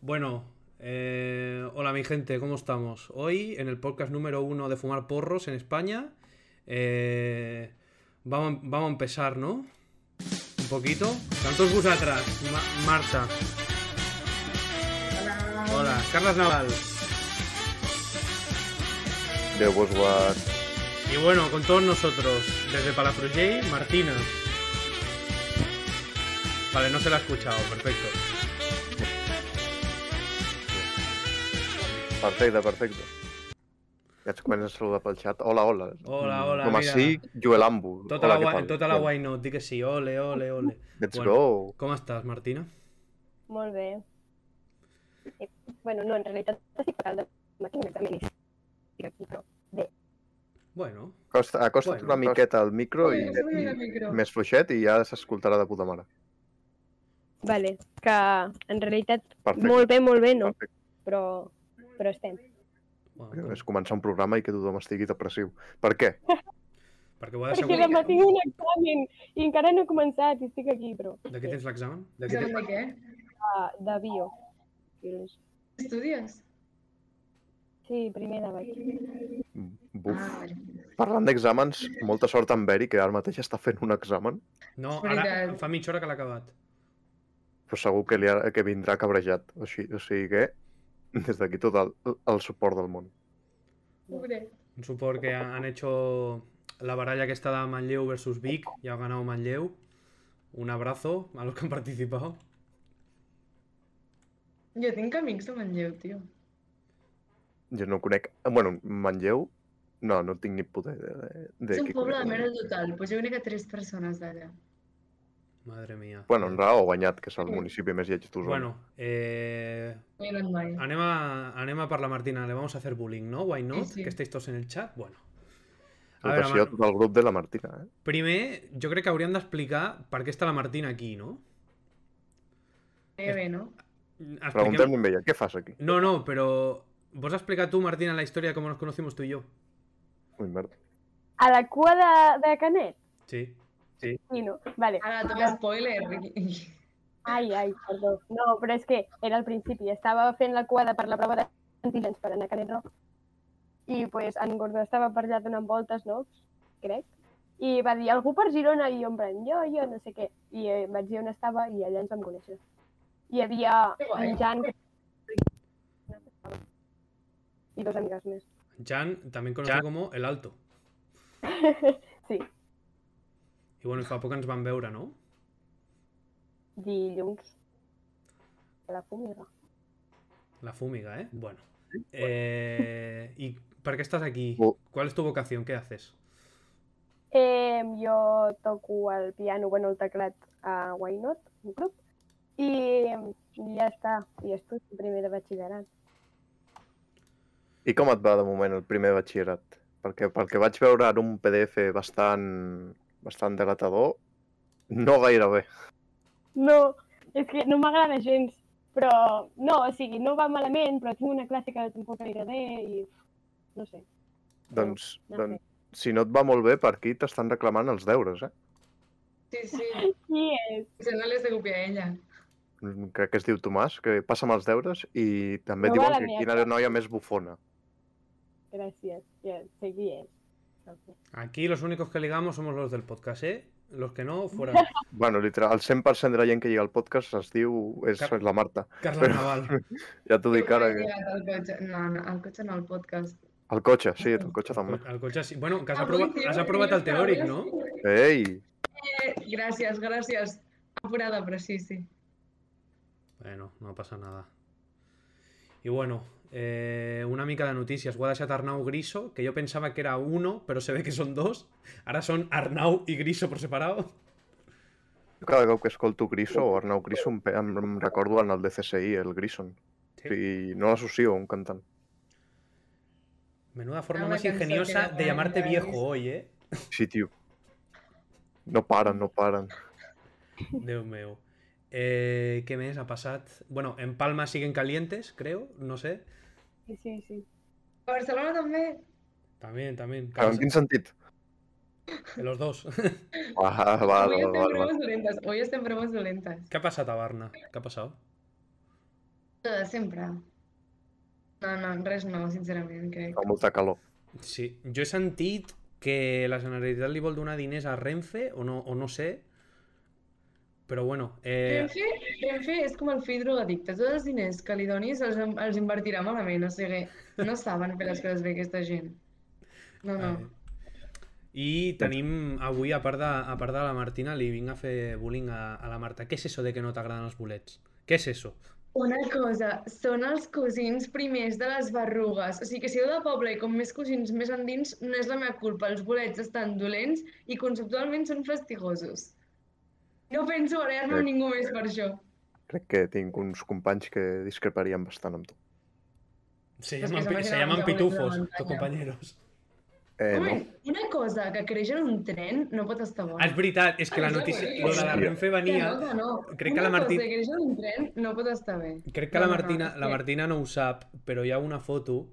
Bueno, eh, hola mi gente, ¿cómo estamos? Hoy en el podcast número uno de Fumar Porros en España. eh, vamos, vamos a empezar, ¿no? Un poquito. Tantos bus atrás, Ma- Marta. Hola. Hola, Carlas Naval. de Boswar. Y bueno, con todos nosotros, desde Palafrugell, Martina. Vale, no se la ha escuchado, perfecto. Perfecte, perfecte. Ja ens comencen a saludar pel xat. Hola, hola. Hola, hola, Com mira. així, Joel Ambu. Tota la, què guai, tal? tota la guai no, di que sí, ole, ole, ole. Let's Bueno. go. Com estàs, Martina? Molt bé. Eh, bueno, no, en realitat estic parlant de màquina d'exàmens. Estic aquí, però... Bueno, Costa, acosta't Bueno, una costa. miqueta al micro i, Ui, ui, el i micro. més fluixet i ja s'escoltarà de puta mare. Vale, que en realitat Perfecte. molt bé, molt bé, no, este. Perfecte. però, però estem. bueno com- És començar un programa i que tothom estigui depressiu. Per què? perquè ho ha Perquè demà d'assegurar. tinc un examen i encara no he començat i estic aquí, ah, però... De què tens l'examen? De què Examen de què? De, de bio. Biologia. Estudies? Sí, primer de vaig. Buf. Ah, vale. Parlant d'exàmens, molta sort en Beri, que ara mateix està fent un examen, No, És ara veritat. fa mitja hora que l'ha acabat. però segur que, li ha, que vindrà cabrejat. O sigui, o sigui que, des d'aquí tot el, el suport del món. Pobre. Un suport que ha- han hecho la baralla que está de Manlleu versus Vic. Ya ha ganado Manlleu. Un abrazo a los que han participado. Jo tinc amics de Manlleu, tio. Jo no conec... Eh, Bueno, Manlleu... No, no tinc ni puta idea de, de És un qui poble de conec. merda total, doncs jo crec que tres persones d'allà. Madre mía. Bueno, en Rao Banyat, que és el Sí. municipi més lleig d'Osona. Bueno, eh, No he anat mai. Anema, Anema para la Martina, le vamos a hacer bullying, ¿no? Why not? Sí, sí. Que estéis todos en el chat. Bueno. A veure, Salutació a Manu. tot el grup de la Martina, eh? Primer, jo crec que hauríem d'explicar per què està la Martina aquí, no? Bé, bé, no? Expliquem- Preguntem-li a ella, què fas aquí? No, no, pero... ¿Vos has explicado tú, Martina, la historia de cómo nos conocimos tú y yo? Ui, merda. A la cua de, de Canet? Sí. Sí, no. Vale. Ara, toca Ah. spoiler. Ai, ai, perdó. No, però és que era al principi. Estava fent la cua de per la prova d'antígens per anar a Canet Rock. I pues, en Gordó estava per allà donant voltes, no? Crec. I va dir, algú per Girona? I jo em prenc, jo, jo, no sé què. I eh, vaig dir on estava i allà ens vam conèixer. Hi havia Que guai. en Jan... Que... I dos amigues més. Jan, también conocido como El Alto. Sí. Y bueno, y fa poc ens van veure, no? Dilluns. A la fumiga. La fúmiga, eh? Bueno. Eh, ¿Y para qué estás aquí? Bu- ¿Cuál es tu vocación? ¿Qué haces? Eh, jo toco el piano, bueno, el teclat a Why Not, un club, i ja està, i estudio primer de batxillerat. I com et va de moment el primer batxillerat? Perquè pel que vaig veure en un PDF bastant, bastant delatador, no gaire bé. No, és que no m'agrada gens, però no, o sigui, no va malament, però tinc una classe que tampoc anirà bé i no sé. Doncs, no doncs, si no et va molt bé, per aquí t'estan reclamant els deures, eh? Sí, sí. Qui és? Se no l'has de copiar a ella. Mm, Crec que es diu Tomàs, que passa amb els deures i també No diuen va la que meva quina classe. noia més bufona. Gràcies, ja sé qui és. Aquí los únicos que ligamos somos los del podcast, ¿eh? Los que no, fuera. Bueno, literal, el 100% de la gent que llega al podcast es diu... És, Cap- és la Marta. Carla Naval. Ja t'ho dic ara. He Que... llegat al cotxe. No, no, al cotxe no, al podcast. Ah, El cotxe, sí, el cotxe també. El cotxe sí. Bueno, que has, Avui, aprovat, tio, has aprovat el tenies teòric, no? paraules. Ei! Eh, gràcies, gràcies. Apurada, però sí, sí. Bueno, no pasa nada. Y bueno, eh, una mica de noticias. Guada Arnau Griso, que yo pensaba que era uno, pero se ve que son dos. Ahora son Arnau y Griso por separado. Jo cada cop que escolto Griso o Arnau Griso em, pe- em, em recordo en el DCSI, el Grison. Sí. I no l'associo a un cantant. Menuda forma Ah, más que no sé ingeniosa qué de llamarte barbaridad viejo es. hoy, ¿eh? Sí, tio. No paren, no paren. Déu meu. Eh, ¿Qué mes ha pasado? Bueno, en Palma siguen calientes, creo, no sé. Sí, sí, sí. A Barcelona també. También, también. Però en quin sentit? Los dos. Ah, va, va, Avui va, estem va, va. bromes dolentes. Avui estem bromes dolentes. ¿Qué ha pasado a Barna? ¿Qué ha pasado? Lo de sempre. No, no, res no, sincerament, crec. Fa molta calor. Sí, jo he sentit que la Generalitat li vol donar diners a Renfe, o no, o no sé, però bueno, eh, Renfe, Renfe és com el fill drogadicte. Tots els diners que li donis els, els invertirà malament, o sigui, no saben fer les coses bé aquesta gent. No, no. eh, i tenim avui, a part, de, a part de la Martina, li vinc a fer bullying a, a la Marta. Què és eso de que no t'agraden els bolets? Què és eso? Una cosa, són els cosins primers de les berrugues. O sigui que si heu de poble i com més cosins més endins, no és la meva culpa. Els bolets estan dolents i conceptualment són fastigosos. No penso barallar-me Eh. amb ningú més per això. Crec que tinc uns companys que discreparien bastant amb tu. Se Pues que llaman, se pi- me se quedan llaman los abuelos de la pitufos, tus montaña. compañeros. Eh, Home, no, una cosa que creix en un tren no pot estar Ah, bona. és veritat, és que la Ah, és notícia... abuelos. Lo de la Hòstia. Renfe Que venia... no, que no. crec que Una la Martí- cosa que creix en un tren no pot estar bé. Crec que No, la no, no, Martina, és la que- Martina no ho sap, però hi ha una foto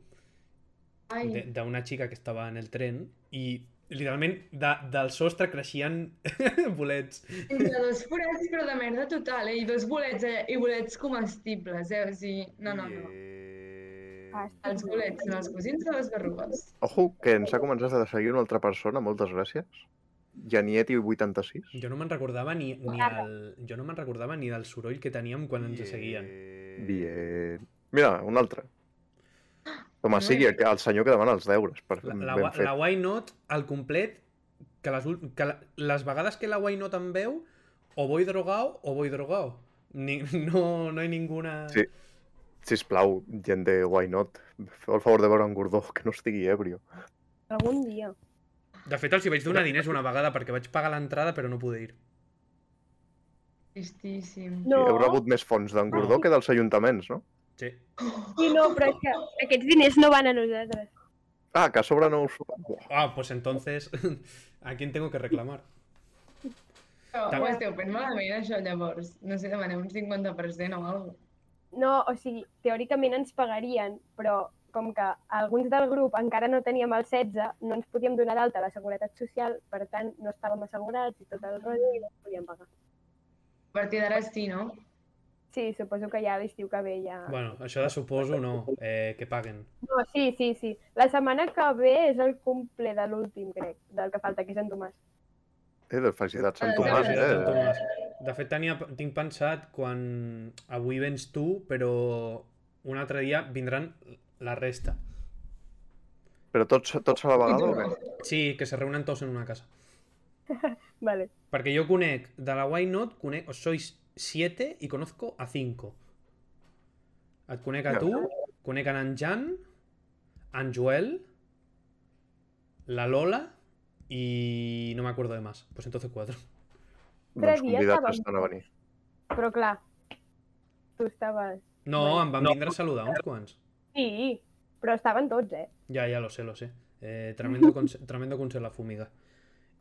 Ai, de- d'una xica que estava en el tren i literalment de, del sostre creixien bolets. entre dos forats, però de merda total, eh? I dos bolets allà, i bolets comestibles, eh? O sigui, no, no, no. I- Ah, està Els bolets són els cosins de les berrugues. Ojo, que ens ha començat a seguir una altra persona, moltes gràcies. Janieti86. Jo no me'n recordava ni, ni el, jo no me'n recordava ni del soroll que teníem quan ens seguien. Bien. Mira, un altre. Home, Molt sigui bé. el, el senyor que demana els deures. Per, La, la, ben wa- fet. la Why Not al complet que les, ul- que la- les vegades que la Why Not em veu o voy drogao o voy drogao. Ni, no, no hi ninguna... Sí. Sisplau, gent de Why Not, feu el favor de veure un gordó que no estigui ebrio. Algun dia. De fet, els hi vaig donar diners una vegada perquè vaig pagar l'entrada però no pude ir. Tristíssim. No, Heu rebut més fons d'en Gordó que dels ajuntaments, no? Sí. sí, no, però és que aquests diners no van a nosaltres. Ah, que a sobre no us... Buah, Ah, pues entonces, ¿a quién tengo que reclamar? Però També- ho esteu fent malament, això, llavors. No sé, demanem un 50% o alguna cosa. No, o sigui, teòricament ens pagarien, però com que alguns del grup encara no teníem el 16, no ens podíem donar d'alta a la Seguretat Social, per tant, no estàvem assegurats i tot el rotllo i no ens podíem pagar. A partir d'ara sí, no? Sí, suposo que ja l'estiu que ve ja... Bueno, això de suposo no, eh, que paguen. No, sí, sí, sí. La setmana que ve és el cumple de l'últim, crec, del que falta, que és en Tomàs. Eh, de felicitats, Sant Ah, Tomàs, sí, Felicitats, Sant eh? Tomàs. De fet, tenia, tinc pensat quan avui vens tu, però un altre dia vindran la resta. Però tots, tots a la vegada o què? Sí, que se reúnen tots en una casa. Vale. Perquè jo conec, de la Why Not, conec, os sois siete i conozco a cinco. Et conec a tu, conec en, en Jan, en Joel, la Lola i no me acuerdo de más. Pues entonces cuatro. Doncs dies convidats estàvem. estan a venir. Però clar, tu estaves... No, em van vindre a saludar uns quants. Sí, però estaven tots, eh? Ya, ya lo sé, lo sé. Eh, tremendo, conse- tremendo consell la fumiga.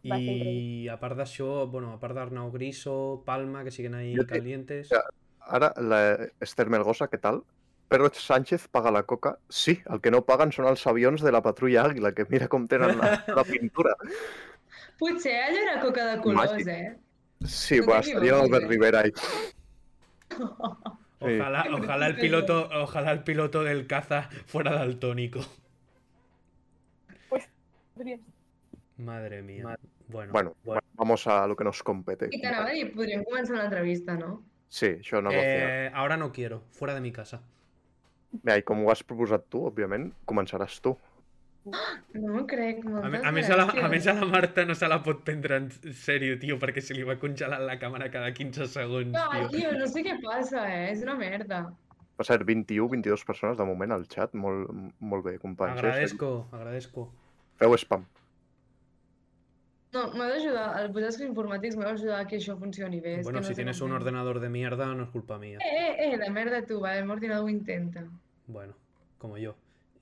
Va ser I a part d'això, bueno, a part d'Arnau Griso, Palma, que siguen ahí Jo te- calientes... Ja. Ara, la Esther Melgosa, què tal? Pedro Sánchez paga la coca? Sí, el que no paguen són els avions de la patrulla Àguila, que mira com tenen la, la pintura. Potser allò era coca de colors, Màgic. eh? Sí, No va, t'equivoquis, estaria l'Albert eh? Rivera ahí. Sí. Ojalá, ojalá el piloto, ojalá el piloto del caza fuera daltónico. Madre mía. Bueno, Bueno, bueno, vamos a lo que nos compete. I t'anava a dir, podríem començar l'entrevista, no? Sí, això no eh... eh, ahora no quiero, fuera de mi casa. Bé, i com ho has proposat tu, òbviament, començaràs tu. No m'ho crec, A, me- moltes a més, a la, a gràcies. més a la Marta no se la pot prendre en sèrio, tio, perquè se li va congelant la càmera cada 15 segons, No, tio. tio, no sé què passa, eh? És una merda. Va ser 21, 22 persones de moment al chat. Molt, molt bé, companys. eh? Agradezco, agradezco. Feu spam. No, m'ha d'ajudar, els vosaltres informàtics m'heu d'ajudar que això funcioni bé. és Bueno, que no si sé tienes com un fer-ho. ordenador de mierda, no es culpa mía. Eh, eh, eh, la merda tu, vale, el meu ordinador ho intenta. Bueno, como yo.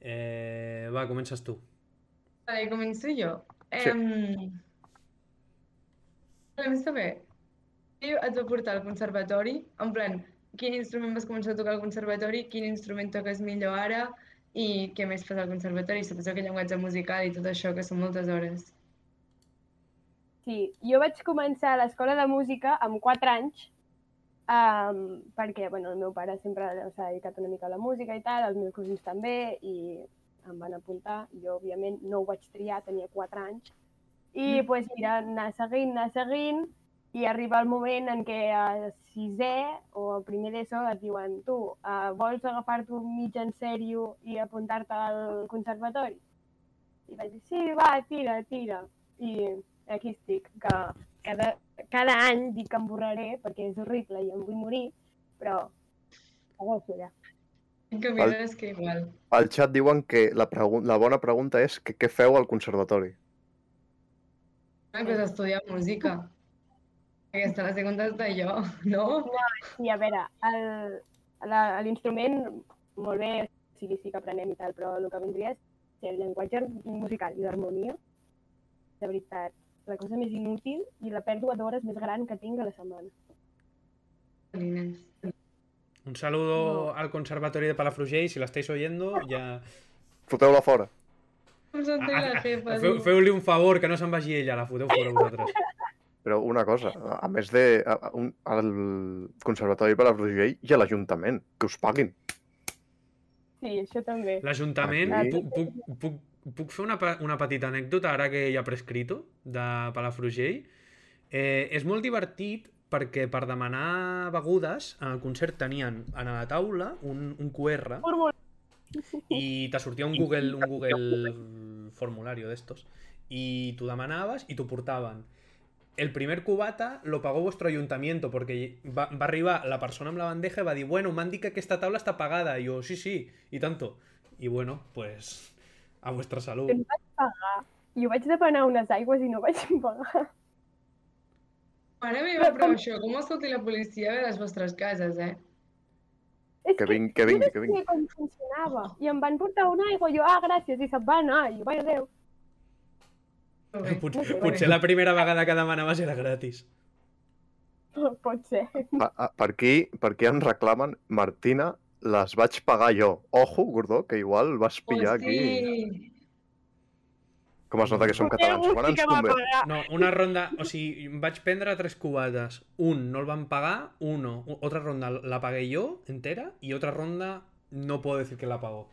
Eh, va, comienzas tú. Vale, començo jo. Sí. Em... Volem saber, qui et va portar al conservatori? En plan, quin instrument vas començar a tocar al conservatori? Quin instrument toques millor ara? I què més fas al conservatori? Suposo que llenguatge musical i tot això, que són moltes hores. Sí, jo vaig començar a l'escola de música amb 4 anys Um, perquè, bueno, el meu pare sempre s'ha dedicat una mica a la música i tal, els meus cosins també, i em van apuntar. Jo, òbviament, no ho vaig triar, tenia 4 anys. I, doncs, pues, mira, anar seguint, anar seguint, i arriba el moment en què a sisè o a primer d'ESO et diuen tu, uh, vols agafar-t'ho mig en sèrio i apuntar-te al conservatori? I vaig dir, sí, va, tira, tira. I aquí estic, que cada, cada any dic que em borraré perquè és horrible i em vull morir, però a veure, En canvi, és que igual. Al xat diuen que la, pregun- la bona pregunta és que què feu al conservatori. Ah, que s'estudia música. Aquesta la sé contestar jo, no? Sí, a veure, el- la- l'instrument, molt bé, o sigui, sí que aprenem i tal, però el que vindria és ser el llenguatge musical i l'harmonia. De veritat, la cosa més inútil i la pèrdua d'hores més gran que tinc a la setmana. Nines. Un saludo No. al Conservatorio de Palafrugell, si la estáis oyendo, ya... Foteu-la fora. Com se'n té la jefa? Ah, Feu- Feu-li un favor, que no se'n vagi ella, la foteu fora vosaltres. Però una cosa, a- a més de a, a un, al Conservatori per a Roger i a l'Ajuntament, que us paguin. Sí, això també. L'Ajuntament, Aquí. puc, puc, puc, puc fer una, pe- una petita anècdota ara que ja ha prescrito de Palafrugell? Eh, és molt divertit perquè per demanar begudes en el concert tenien a la taula un, un QR Formula. i te sortia un Google, un Google formulari d'estos i tu demanabas i t'ho portaven. El primer cubata lo pagó vuestro ayuntamiento porque va, va arribar la persona amb la bandeja i va dir, bueno, m'han dit que aquesta taula està pagada. I jo, sí, sí, i tanto. I bueno, pues a vuestra salud. Em Jo vaig demanar unes aigües i no vaig pagar. Mare meva, però això, com es sortir la policia de les vostres cases, eh? És Que vingui, que vingui, que Jo no vingui. sabia com funcionava. I em van portar una aigua, jo, ah, gràcies, i se'n va anar. I jo, vaja adéu. Molt bé. Pot, Molt bé. potser la primera vegada que demanaves era gratis. Pot ser. A, a, per, aquí, per aquí ens reclamen, Martina, les vaig pagar jo. Ojo, Gordó, que igual vas Oh, pillar aquí. Hosti. Com es nota que som catalans. Quan ens convé? pagar. No, una ronda, o sigui, vaig prendre tres cubates. Un no el van pagar, uno, u- otra ronda la pagué yo entera y otra ronda no puedo decir que la pagó.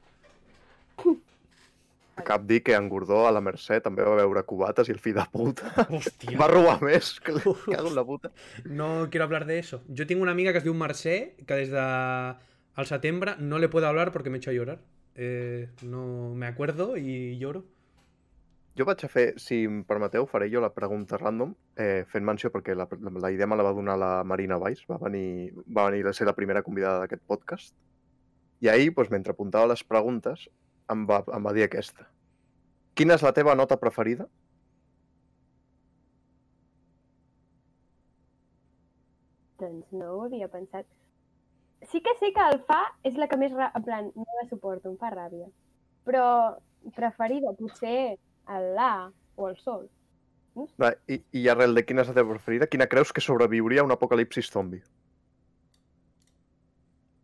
Cap dir que en Gordó a la Mercè també va veure cubates i el fill de puta Hòstia. va robar més que li cago en la puta. No quiero hablar de eso. Yo tengo una amiga que es de un Marseille que desde al septiembre no le puedo hablar porque me he hecho llorar. Eh, no me acuerdo y lloro. Jo vaig a fer, si em permeteu, faré jo la pregunta random, eh, fent menció perquè la, la, la idea me la va donar la Marina Valls, va venir, va venir a ser la primera convidada d'aquest podcast, i ahir, doncs, mentre apuntava les preguntes, em va, em va dir aquesta. Quina és la teva nota preferida? Doncs no ho havia pensat. Sí que sé que el fa és la que més... ra- En plan, no la suporto, em fa ràbia. Però preferida potser el la o el sol. Va, i, I arrel de quina és la teva preferida, quina creus que sobreviuria a un apocalipsis zombi?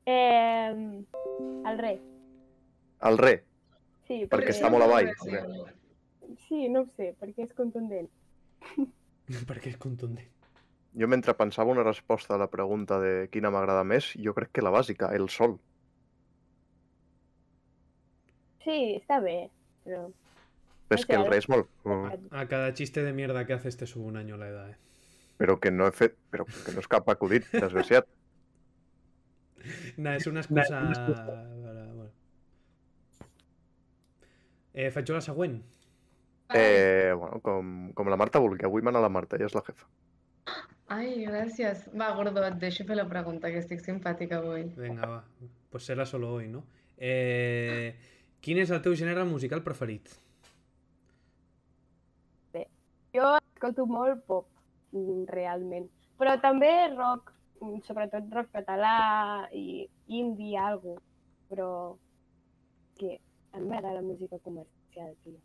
Eh, el rei. El rei. Sí, Perquè Res, està molt avall. res, res. Sí, no ho sé, perquè és contundent. Perquè és contundent. Jo mentre pensava una resposta a la pregunta de quina m'agrada més, jo crec que la bàsica, el sol. Sí, està bé, però... És que el rei és molt... Mm. A cada chiste de mierda que haces te subo un año la edad. eh. Però que no he fet... Però que no és cap acudit, desgraciat. Nah, es una excusa... para- bueno. Eh, faig jo la següent. Eh, bueno, com, com la Marta vulgui. Avui mana la Marta, ella és la jefa. Ai, gràcies. Va, Gordo, et deixo fer la pregunta, que estic simpàtica avui. Venga, va. Pues será solo hoy, ¿no? Eh, quin és el teu gènere musical preferit? Jo escolto molt pop, mm, realment. Però també rock, mm, sobretot rock català i indie, algo. Però que a mi m'agrada la música comercial, tio.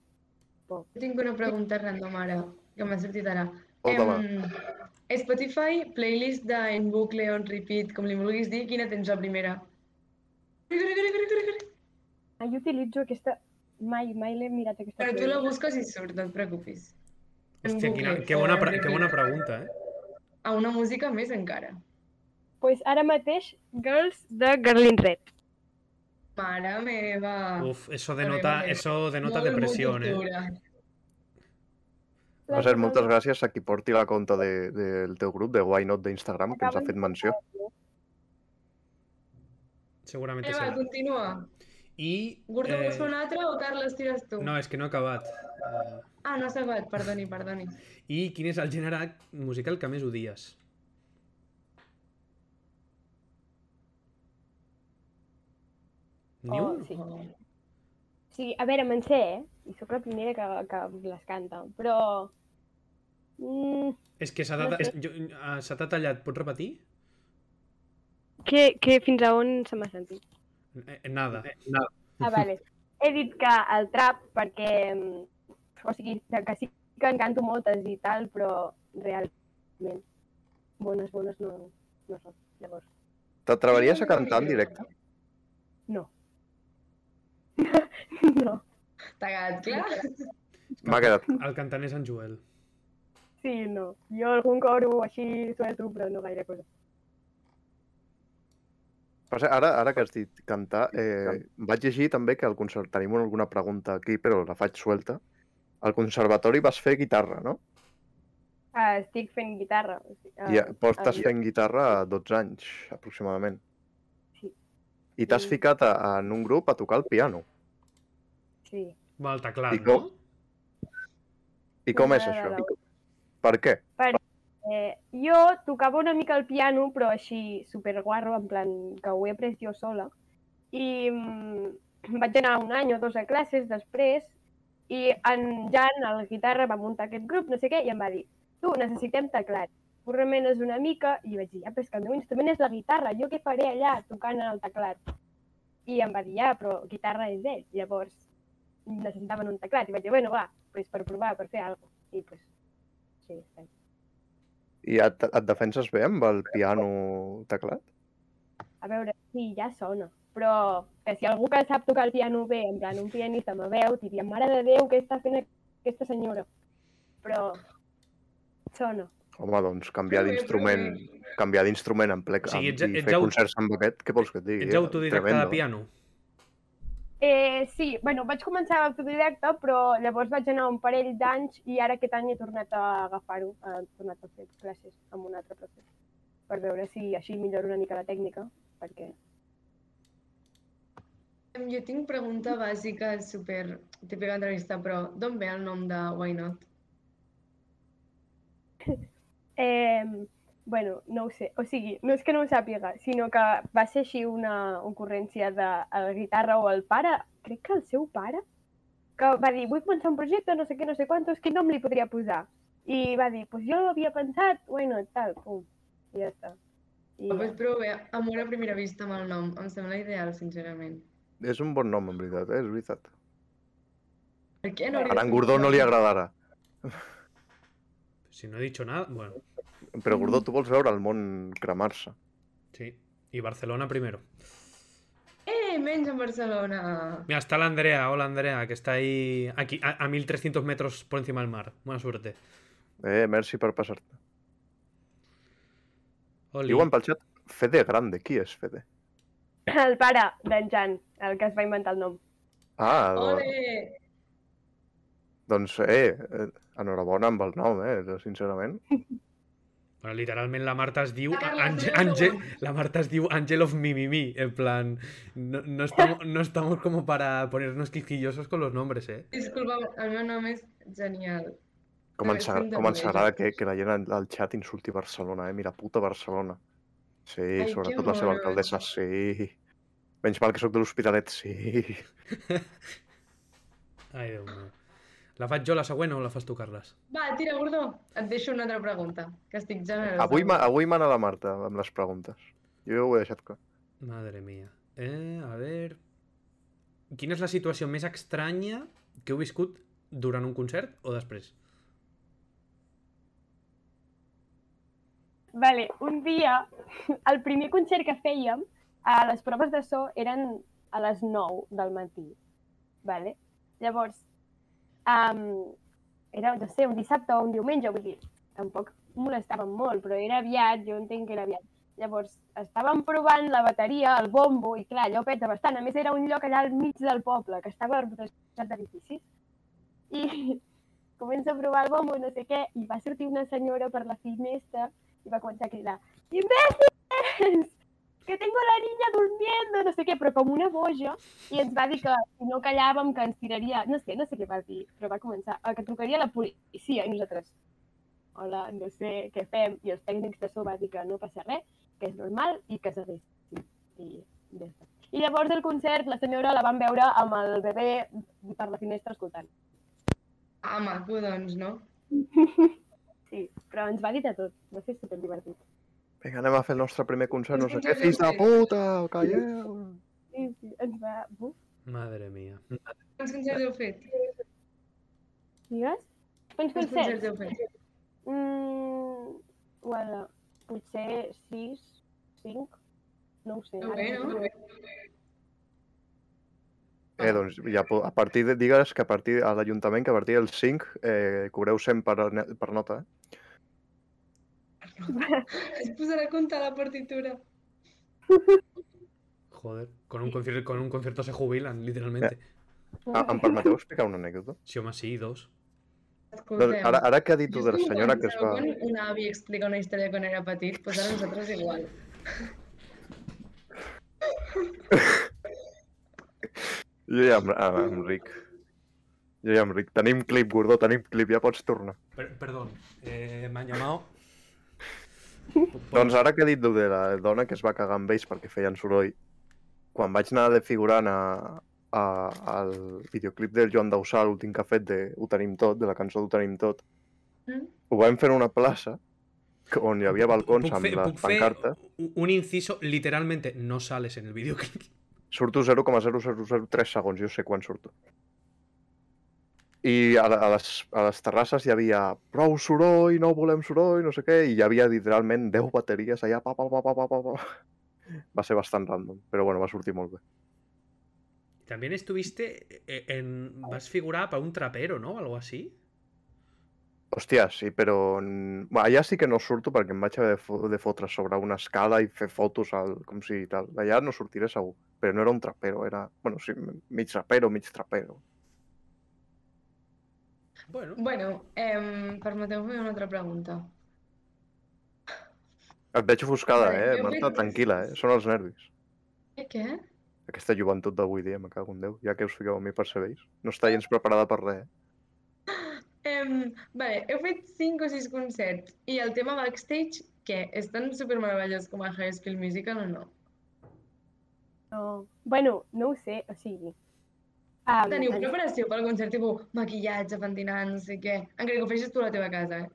Jo tinc una pregunta random ara, que m'ha sortit ara. Escolta, va. Em, Spotify, playlist de In Bucle, On Repeat, com li vulguis dir, quina tens la primera? Corre, corre, corre, corre, corre. Ah, jo utilitzo aquesta... Mai, mai l'he mirat aquesta... Però tu la playlist. busques i surt, no et preocupis. En Hòstia, quina, bucle, que, bona, on pre- que bona repeat. pregunta, eh? A una música més encara. pues ara mateix, Girls de Garlin Red. Mare meva. Uf, eso Ah. Vale, denota, vale. eso denota Molt depresión, eh. multicultura. Va ser moltes gràcies a qui porti la compte de, del teu grup, de Why Not d'Instagram, que ens ha fet menció. Seguramente Eva, será. continua. Y. Gordo, eh, vols fer un altre o Carles tires tu? no, es que no acabat. Eh, Ah, no s'ha acabat, perdoni, perdoni. I quin és el gènere musical que més odies? Ni Oh, un? sí. Sí, a veure, me'n sé, eh? I sóc la primera que, que les canta, però... Mm, És que s'ha de, No sé. és- jo- eh, s'ha de tallat, pots repetir? que, que fins a on se m'ha sentit? Eh, Nada. Ah, vale. He dit que el trap, perquè... mm, O sigui, de que sí que en canto moltes i tal, però realment bones, bones no, no són. Llavors, T'atreveries a cantar en directe? no. no. T'ha quedat clar? M'ha quedat. El cantant és en Joel. Sí, no. Jo algun coro així suelto, però no gaire cosa. Per cert, Ara, ara que has dit cantar, eh, vaig llegir també que al concert tenim alguna pregunta aquí, però la faig suelta. Al conservatori vas fer guitarra, no? Ah, estic fent guitarra. o sigui, ah, I eh, portes ah, fent guitarra 12 anys, aproximadament. Sí. I t'has Mm. ficat a, en un grup a tocar el piano. Sí. Va, el teclat, I no? I com és M'agrada això? la Per què? Eh, jo tocava una mica el piano, però així superguarro, en plan que ho he après jo sola. I mm, vaig anar un any o dos a classes després i en Jan, el guitarra, va muntar aquest grup, no sé què, i em va dir tu, necessitem teclat. Tu remenes una mica i vaig dir, ja, però és que el meu instrument és la guitarra, jo què faré allà tocant en el teclat? I em va dir, ja, però guitarra és ell. Llavors necessitaven un teclat i vaig dir, bueno, va, pues per provar, per fer alguna cosa. I pues, sí, està I et, et defenses bé amb el piano teclat? A veure, sí, ja sona, però que si algú que sap tocar el piano bé, en plan un pianista me veu, diria, mare de Déu, què està fent aquesta senyora? Però sona. Home, doncs canviar Prové, d'instrument canviar d'instrument en ple O sigui, amb- ets- i ets fer aut- concerts amb aquest, què vols que et digui? eh? Ets autodidacta de Tremendo. piano. Eh, sí, bueno, vaig començar autodidacta, però llavors vaig anar un parell d'anys i ara aquest any he tornat a agafar-ho, he tornat a fer classes amb un altre professor, per veure si així milloro una mica la tècnica, perquè Jo tinc pregunta bàsica, super típica entrevista, però d'on ve el nom de Why Not? Eh, bueno, no ho sé. O sigui, no és que no ho sàpiga, sinó que va ser així una ocurrència de a la guitarra o el pare, crec que el seu pare, que va dir, vull començar un projecte, no sé què, no sé quantos, quin nom li podria posar? I va dir, pues jo l'havia pensat, bueno, tal, pum, i ja està. I Pues prové amb una primera vista amb el nom. Em sembla ideal, sincerament. És un bon nom, en veritat, eh? és veritat. Per què no A en Gordó no li agradarà. Si no he dicho nada, bueno, Mm. Però Gordó, tu vols veure el món cremar-se. sí. Y Barcelona primero. Eh, menys en Barcelona! Mira, está la Andrea, hola Andrea, que está ahí aquí a, a 1300 metros por encima del mar. Buena suerte. Eh, merci per passar-te. Oli. Diuen pel xat, Fede Grande, qui és Fede? el pare d'en Jan, el que es va inventar el nom. Ah, Ole! doncs, eh, eh, enhorabona amb el nom, eh, sincerament. Bueno, literalment la Marta es diu... Ah, la Ange- Andrea Ange- Segura. la Marta es diu Angel of Mimimi, en plan... No, no, estamos, no estamos como para ponernos quisquillosos con los nombres, ¿eh? Disculpa, el meu nom és genial. Com Però ens, és que agra- em com ens doneja. agrada que, que la gent al xat insulti Barcelona, eh? Mira, puta Barcelona. Sí, Ai, que sobretot la seva monos. alcaldessa, sí. Menys mal que sóc de l'Hospitalet, sí. Ai, Déu meu. La faig jo la següent o la fas tu, Carles? Va, tira, Gordó. Et deixo una altra pregunta, que estic generosa. Avui, ma- avui mana la Marta amb les preguntes. Jo ja ho he deixat clar. Madre mía. Eh, a ver... Quina és la situació més estranya que heu viscut durant un concert o després? Vale, un dia, el primer concert que fèiem, a les proves de so eren a les 9 del matí. Vale? Llavors, um, era, no sé, un dissabte o un diumenge, vull dir, tampoc molestaven molt, però era aviat, jo entenc que era aviat. Llavors, estàvem provant la bateria, el bombo, i clar, allò peta bastant. A més, era un lloc allà al mig del poble, que estava rodejat d'edificis. I comença a provar el bombo, no sé què, i va sortir una senyora per la finestra i va començar a cridar «Imbècils! Que tengo la niña durmiendo!» No sé què, però com una boja. I ens va dir que si no callàvem que ens tiraria... No sé, no sé què va dir, però va començar. eh, Que trucaria la policia i nosaltres «Hola, no sé què fem». I els tècnics de so va dir que no passa res, que és normal i que s'adressi. I, ja està. I llavors del concert la senyora la van veure amb el bebè per la finestra escoltant. Ah, maco, doncs, no? Sí, però ens va dir de tot. Va ser super divertit. Vinga, anem a fer el nostre primer concert, no sé què, Concert fills de de puta, eh? calleu! Sí, sí, ens va... Buf, Madre mía. Quants concerts heu fet? digues? Quants Quants concerts? concerts heu fet? Mm, bueno, potser 6, 5, no ho sé. Déu ara bé, no no? Eh, doncs, ja, po- a partir de, digues que a partir a l'Ajuntament, que a partir del 5, eh, cobreu 100 per, ne- per nota, eh? Es posarà a comptar la partitura. Joder, con un concierto, con un concierto se jubilan, literalmente. Ah, em permeteu explicar una anècdota? Si home, sí, dos. Doncs, Escolteu. ara, ara que ha dit tu de la senyora que es va... Quan un avi explica una història quan era petit, doncs ara nosaltres igual. Jo ja em, em, em ric. Jo ja em ric. Tenim clip, Gordó, tenim clip, ja pots tornar. Per- perdón, eh, me han llamado. Doncs ara que he dit de la dona que es va cagar amb ells perquè feien soroll, quan vaig anar de figurant a, a, al videoclip del Joan Dausà, l'últim que ha fet de Ho tenim tot, de la cançó Ho tenim tot, Mm? ho vam fer en una plaça que- on hi havia balcons Puc amb fer- les puc fer pancartes. un- un inciso, literalmente no sales en el videoclip. Surto 0,0003 segons, jo sé quan surto. I a, la- a, les, a les terrasses hi havia prou soroll, no volem soroll, no sé què, i hi havia literalment 10 bateries allà, pa, pa, pa, pa, pa, pa, pa. Va ser bastant random, però bueno, va sortir molt bé. También estuviste eh, en. Vas figurar para un trapero, ¿no? Algo así. Hòstia, sí, però... mm, Bueno, allà sí que no surto perquè em vaig haver de, fo de fotre sobre una escala i fer fotos al, com si tal. Allà no sortiré segur, però no era un trapero, era... Bueno, sí, m- mig trapero, mig trapero. Bueno, Bueno, em, permeteu-me una altra pregunta. Et veig ofuscada, Vale, eh, jo Marta? vull- Tranquil·la, eh? Són els nervis. Eh, què? Aquesta joventut d'avui dia, me cago en Déu. Ja que us fiqueu a mi per serveis. No està gens preparada per res. eh? Em, vale, heu fet 5 o 6 concerts i el tema backstage, què? És tan supermeravellós com a High School Musical o no? No. Bueno, no ho sé, o sigui... Um, Teniu preparació pel concert, tipus maquillatge, pentinat, no sé què. Encara que ho feixis tu a la teva casa, eh?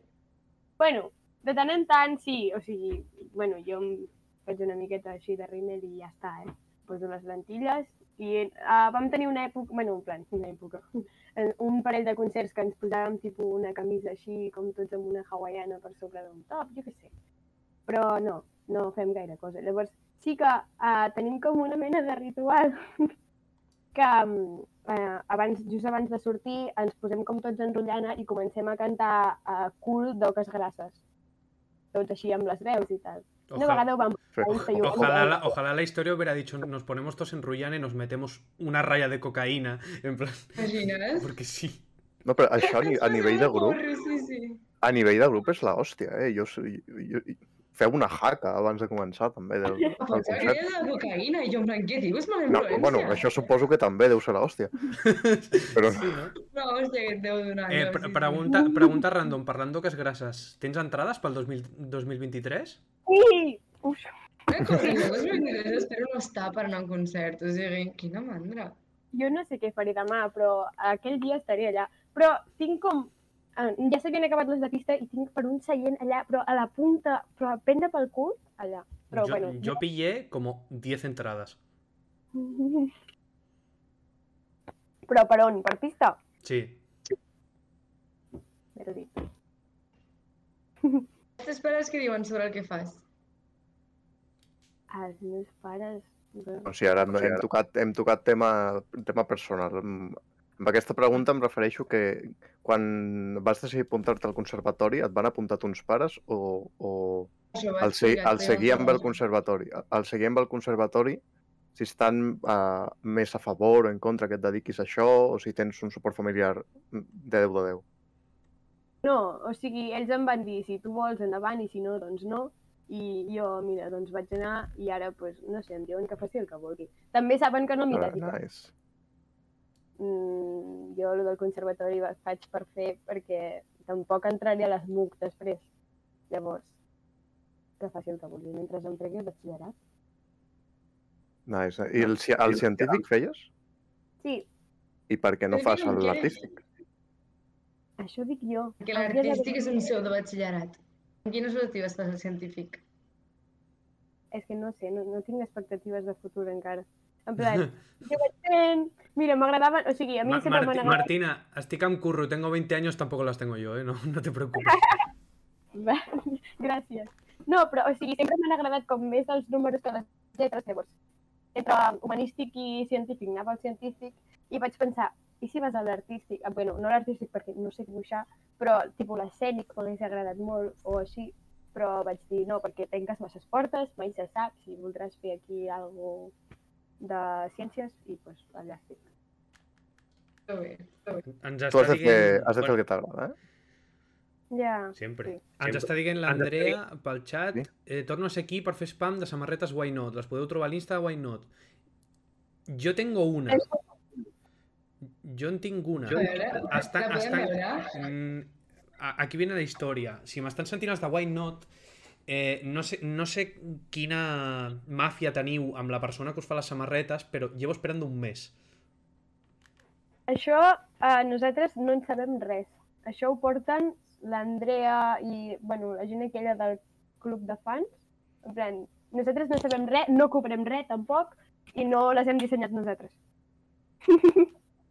Bueno, de tant en tant sí, o sigui, bueno, jo em faig una miqueta així de rímel i ja està, eh? Poso les lentilles i uh, vam tenir una època, bueno, en plan, una època, en- un parell de concerts que ens posàvem tipus una camisa així, com tots amb una hawaiana per sobre d'un top, jo què sé. Però no, no fem gaire cosa. Llavors, sí que uh, tenim com una mena de ritual que mm, eh, abans, just abans de sortir ens posem com tots en rotllana i comencem a cantar eh, cul d'oques grasses. Tots així amb les veus i tal. Una vegada ho vam Fe- posar i ho vam ojalá, la, ojalá la historia hubiera dicho: nos ponemos todos en Ruyana y nos metemos una raya de cocaína. En plan, Imagines? porque sí. No, però això a, ni, a nivell de grup... Porro, sí, sí. A nivell de grup és la hòstia, eh? Jo, soy- jo, jo, feu una jaca abans de començar, també, del, del Pensava que concert. era de cocaïna i jo en plan, què dius? Me No, bueno, això suposo que també deu ser la hòstia. Però Sí, ¿no? No, hòstia, que et deu donar. Eh, jo, pre- sí, sí. pregunta, pregunta random, parlando que es grasas. ¿Tienes entradas para el 2000 2023? Sí! Uf, Una cosa, jo les vendré, espero no estar per anar a un concert, o sigui, quina mandra. jo no sé què faré demà, però aquell dia estaré allà. Però tinc com... eh, Ja s'havien acabat les de pista i tinc per un seient allà, però a la punta, però a prendre pel cul, allà. Però, yo, bueno, yo pillé como 10 entradas. Però per on? Per pista? Sí. M'he dit. Els pares que diuen sobre el que fas? Els meus pares... O sigui, ara hem, hem, tocat, hem tocat tema, tema personal. Mm, Amb aquesta pregunta em refereixo que quan vas decidir apuntar-te al conservatori et van apuntar uns pares o, o Això va el, se explicat, el però seguir amb el no. conservatori? El seguir amb el conservatori si estan uh, més a favor o en contra que et dediquis a això o si tens un suport familiar mm, de 10 de 10. No, o sigui, ells em van dir, si tu vols, endavant, i si no, doncs no. I jo, mira, doncs vaig anar i ara, pues, no sé, em diuen que faci el que vulgui. També saben que no m'hi Ah, dedico. nice. Mm, jo el del conservatori va- faig per fer perquè tampoc entraré a les MUC després. Llavors, que faci el que vulgui mentre em tregui el batxillerat. nice. I el, ci- el científic feies? Sí, I per què no Però fas mira, jo- l'artístic? això dic jo. Que Hauria d'haver- l'artístic és un seu de batxillerat. En quines relatives estàs al científic? És que no sé, no, no tinc expectatives de futur encara. En plan, jo vaig fent... Mira, m'agradaven... O sigui, a mi Ma- sempre Marti- m'han agradat... Martina, estic amb curro, tengo 20 años, tampoco las tengo yo, ¿eh? No, no te preocupes. Va, Gràcies. No, però, o sigui, sempre m'han agradat com més els números que les lletres, llavors. Entre humanístic i científic, anava al científic i vaig pensar, i si vas a l'artístic? Ah, bueno, no a l'artístic perquè no sé dibuixar, però tipus l'escènic m'hagués agradat molt o així, però vaig dir no, perquè tanques masses portes, mai se sap si voldràs fer aquí alguna de ciències i pues, allà estic. Que bé. Ens està Tu has de fer, dient- has de fer Bueno, el que t'agrada, eh? Ja, Sempre. Sí. Ens Sempre. està dient Ens està l'Andrea pel xat. Sí. Eh, torno a ser aquí per fer spam de samarretes Why Not. Les podeu trobar a l'Insta de Why Not. Jo tengo una. Jo en tinc una. A veure, Està, la podem està, veure? Mm, a- aquí viene la història. Si m'estan sentint els de Why Not, eh, no, sé, no sé quina màfia teniu amb la persona que us fa les samarretes, però llevo esperant un mes. Això eh, nosaltres no en sabem res. Això ho porten l'Andrea i bueno, la gent aquella del club de fans. En plan, nosaltres no sabem res, no cobrem res tampoc i no les hem dissenyat nosaltres.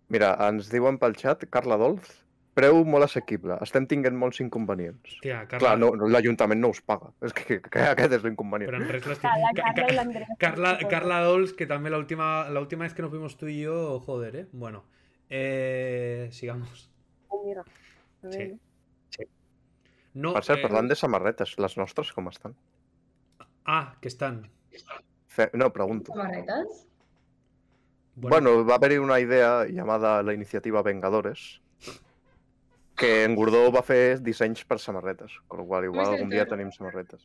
Mira, ens diuen pel xat, Carla Dolz, preu molt assequible, estem tinguent molts inconvenients. Tia, Carla, Clar, no, no, l'Ajuntament no us paga, és que, que, que aquest és Pero l'inconvenient. en res l'estic- Ah, La Ca- Carla ca- i l'Andrea. Carla, Carla Dolz, que también la última, la última vez que nos vimos tú y yo, joder, ¿eh? Bueno, eh, sigamos. Oh, mira. A Sí. veure. No, Per cert, eh, parlant de samarretes, les nostres com estan? Ah, que están. Fe... No, pregunto. Samarretes? Bueno, va haver-hi una idea llamada la iniciativa Vengadores, que en Gordó va fer dissenys per samarretes, con lo qual igual algun dia tenim samarretes.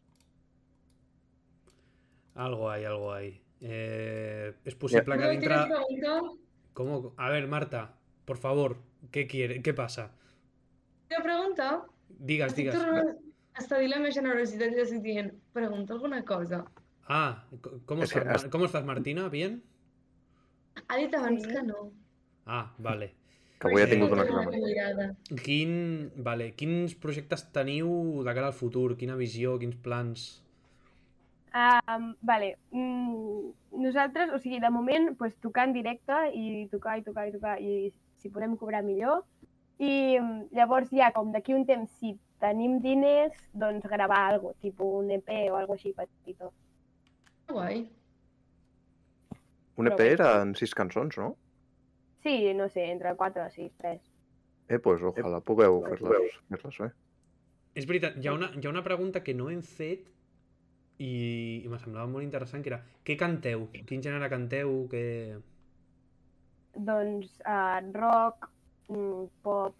algo hay, algo hay. Eh, es posible que No, dintre- tienes pregunta? ¿Cómo? A ver, Marta, por favor, ¿qué quiere? ¿Qué pasa? Tienes pregunta? Digas, Estic digas. tornant a establir la meva generositat i estic dient, pregunta alguna cosa. Ah, co- ¿cómo Es que estás, Mar- ¿cómo estás, Martina? ¿Bien? Ha dit abans que no. Ah, vale. Que avui he Eh, tingut una torna- crema. mirada. Quin, vale, quins projectes teniu de cara al futur? Quina visió, quins plans? Um, vale. Mm, nosaltres, o sigui, de moment, pues, tocar en directe i tocar i tocar i tocar i si podem cobrar millor. I mm, llavors ja, com d'aquí un temps, si tenim diners, doncs gravar alguna tipus un EP o alguna així petitó. Guai. Un EP era en sis cançons, no? Sí, no sé, entre 4 o 6, 3. Eh, pues ojalà pugueu fer-les fer bé. És veritat, hi ha, una, hi ha una pregunta que no hem fet i, i me semblava molt interessant, que era què canteu? Quin gènere canteu? Que... Doncs uh, rock, mm, pop,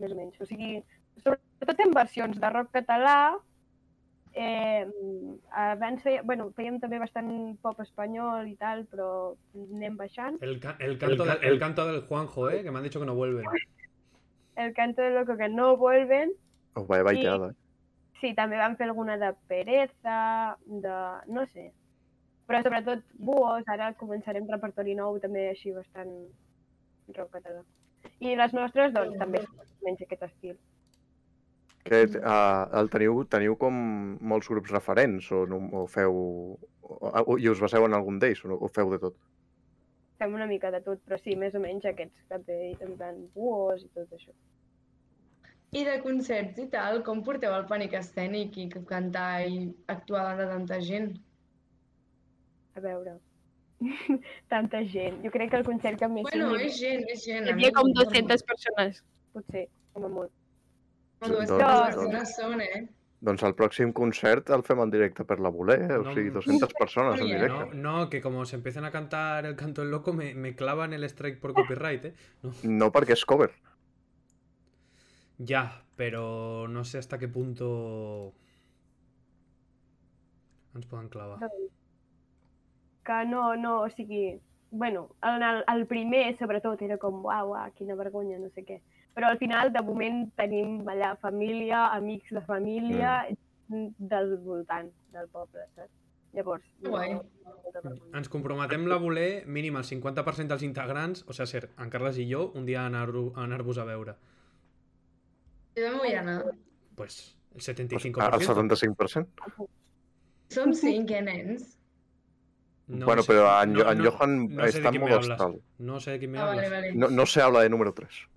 més o menys. O sigui, sobretot fem versions de rock català. Eh, abans feia, bueno, fèiem també bastant pop espanyol i tal, però anem baixant. El, ca- el, canto, El el, ca- el canto del Juanjo, eh? Que m'han dit que no vuelven. El canto de loco que no vuelven. Us vaig baiteada. eh? Sí, també vam fer alguna de pereza, de... no sé. Però sobretot buos, ara començarem repertori nou també així bastant rock català. I les nostres, doncs, també són menys aquest estil. Que, ah, el teniu, teniu com molts grups referents o, no, o feu... O, o, I us baseu en algun d'ells o, no, o feu de tot? Fem una mica de tot, però sí, més o menys aquests que té en plan buos i tot això. I de concerts i tal, com porteu el pànic escènic i cantar i actuar davant de tanta gent? A veure. tanta gent. Jo crec que el concert que més... Bueno, hi és gent, és gent. Hi havia com 200 persones. Potser, com a molt. Dues Doncs- persones són, eh? Doncs el pròxim concert el fem en directe per la voler, eh? o No. sigui, 200 persones en Oye, No, directe. no, que como se empiecen a cantar el canto del loco, me, me clavan el strike por copyright, ¿eh? No perquè és cover. Ya, pero no sé hasta qué punto ens poden clavar. que no, no, o sigui, bueno, en el, el primer sobretot era com, uau, uau, quina vergonya, no sé què. Però al final, de moment, tenim allà família, amics de família, mm. del voltant del poble, saps? Llavors, Guai. no, molta vergonya. Ens comprometem la voler mínim el 50% dels integrants, o sea, ser en Carles i jo, un dia a anar-ho- a anar-vos a veure. Jo també vull anar. Pues el Pues, ah, 75%. el 75%. Som cinc, eh, nens? No bueno, sé- però en, no- en no- Johan no sé de està quién me en modo hablas. hostal. No sé de quién me Ah, vale, hablas. vale. No, no se habla de número 3.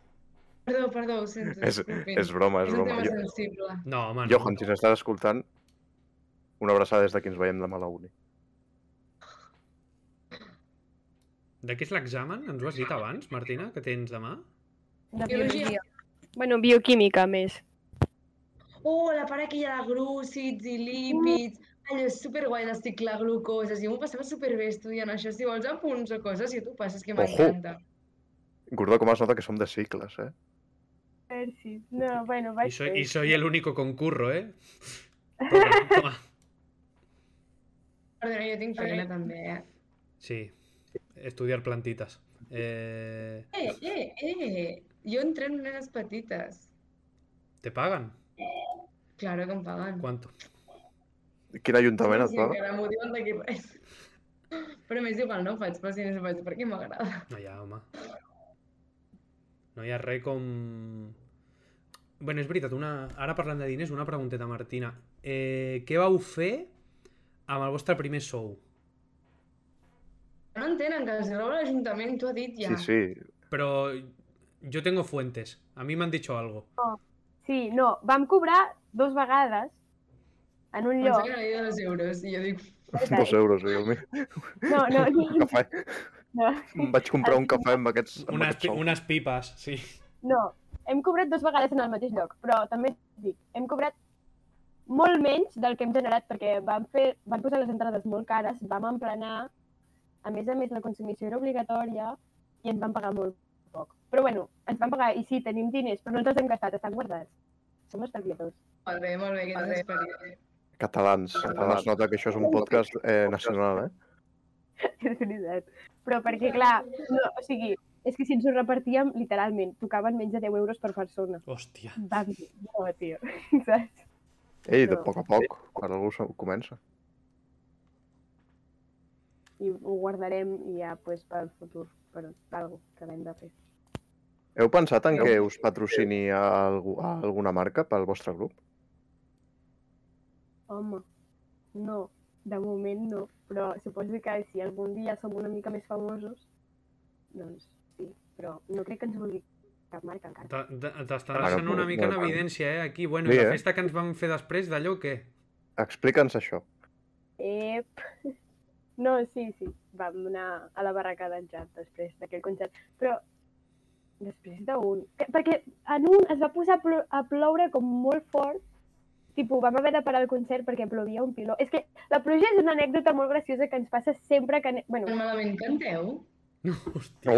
Perdó, perdó, ho sento. És, disculpin. és broma, és És un broma. tema Jo, sensible. No, man. Johan, si ens estàs escoltant, una abraçada des de que ens veiem demà a la uni. De què és l'examen? Ens ho has dit abans, Martina, que tens demà? De Biologia. biologia. Bueno, bioquímica més. Oh, la part aquella de glúcids i lípids. Allò és superguai de ciclar glucoses. Jo m'ho passava superbé estudiant això. Si vols apunts o coses, si tu passes, que Ojo. m'encanta. Gordó, com es nota que som de cicles, eh? Merci. No, bueno, vaig Y soy, y fer. soy el único concurro, ¿eh? Toma, toma. Perdona, jo tinc feina també, eh? Sí, estudiar plantitas. Eh, Eh, eh, eh! Jo entreno nenes petites. ¿Te pagan? Claro que em paguen. ¿Cuánto? Quin ajuntament et Sí, paga? encara m'ho diuen d'aquí res. Però m'és igual, no ho faig, però si no ho faig perquè m'agrada. No hi ha, home. No hi ha res com... bueno, és veritat, una... ara parlant de diners, una pregunteta, Martina. Eh, què vau fer amb el vostre primer sou? No entenen que els roba l'Ajuntament, t'ho ha dit ja. Sí, sí. Però jo tengo fuentes. A mi m'han dicho algo. Sí, no, vam cobrar dos vegades en un Pensava lloc. que era de dos euros i jo dic, Dos euros, eh? Déu meu. No, no, Un cafè. no, Em vaig comprar un cafè amb aquests, amb Unas, aquests pi- sous. unas pipas, sí. No, hem cobrat dues vegades en el mateix lloc, però també et dic, hem cobrat molt menys del que hem generat, perquè vam, fer, van posar les entrades molt cares, vam emplenar, a més a més la consumició era obligatòria i ens van pagar molt poc. Però bueno, ens van pagar i sí, tenim diners, però no ens els hem gastat, estan guardats. Som estalviadors. molt bé, molt bé, que t'has esperit. Catalans, catalans. Es nota que això és un podcast eh, nacional, eh? és veritat. Però perquè, clar, no, o sigui, és que si ens ho repartíem, literalment, tocaven menys de 10 euros per persona. Hòstia. Vam dir, no, tio, saps? Ei, de No. poc a poc, quan algú s'ho comença. i ho guardarem i ja pues, pel futur, per algo que hem de fer. Heu pensat en que us patrocini a algú, a alguna marca pel vostre grup? Home, no, de moment no, però suposo que si algun dia som una mica més famosos, doncs sí, però no crec que ens vulgui cap marca encara. Ta- ta- T'està Bueno, deixant una pues, mica en bueno. evidència, eh, aquí. Bueno, Sí, i la eh? festa que ens vam fer després d'allò, què? Explica'ns això. Ep! No, sí, sí, vam anar a la barraca d'en Jan després d'aquell concert, però després d'un... que- Perquè en un es va posar a plo- a ploure com molt fort, tipus, vam haver de parar el concert perquè plovia un piló. És que la pluja és una anècdota molt graciosa que ens passa sempre que... ane- Bueno, Tan malament canteu? No, hòstia.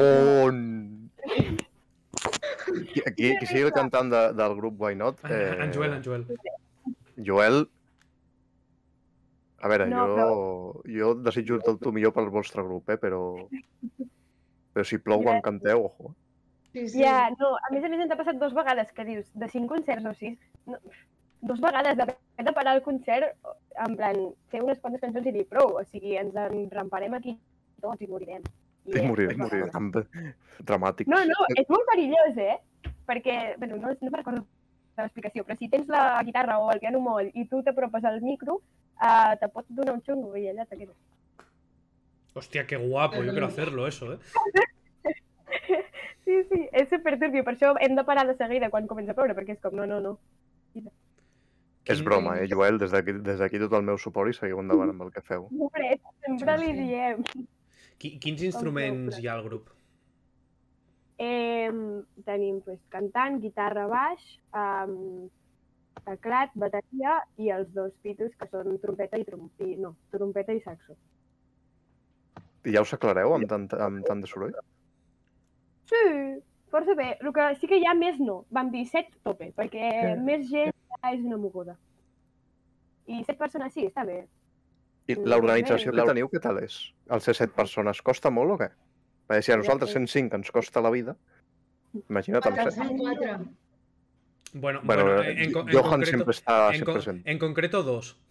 On... Qui, qui, qui sigui el cantant de, del grup Why Not? eh, En, en Joel, en Joel. Joel... A veure, No, jo, jo desitjo tot el millor pel vostre grup, eh? però... Però si plou quan Joel. canteu, ojo. eh. Sí, sí. ja, no, a més a més ens ha passat dues vegades que dius, de cinc concerts o sis, no, dues vegades d'haver de parar el concert, en plan, fer unes quantes cançons i dir prou, o sigui, ens enramparem aquí tots i morirem. I I és moriré, dues moriré. vegades. Tan dramàtic. No, no, és molt perillós, eh? Perquè, bueno, no, no me'n recordo de l'explicació, però si tens la guitarra o el piano moll i tu t'apropes al micro, uh, te pot donar un xungo i allà te quedes. Hòstia, que guapo, yo quiero hacerlo, eso, eh. Sí, sí, és superturbio, per això hem de parar de seguida quan comença a ploure, perquè és com, no, no, no. És broma, eh, Joel? Des d'aquí des d'aquí tot el meu suport i seguiu endavant amb el que feu. Pobret, sempre Sí, li sí. diem. Qui- Quins instruments hi ha al grup? Eh, tenim pues, cantant, guitarra, baix, um, teclat, bateria i els dos pitos que són trompeta i, trom i no, trompeta i saxo. I ja us aclareu amb tant, amb tant de soroll? Sí, força bé. El que sí que hi ha més no. Vam dir set tope, perquè Sí. més gent ja és una moguda. I set persones sí, està bé. I Mm, l'organització bé. que teniu, què tal és? Els ser set persones, costa molt o què? Perquè si a nosaltres 105 ens costa la vida, imagina't amb Quatre, set. són quatre. Bueno, Bueno, bueno, eh, en, co- en Johan concreto, sempre està en, sempre co- present. en concreto dos.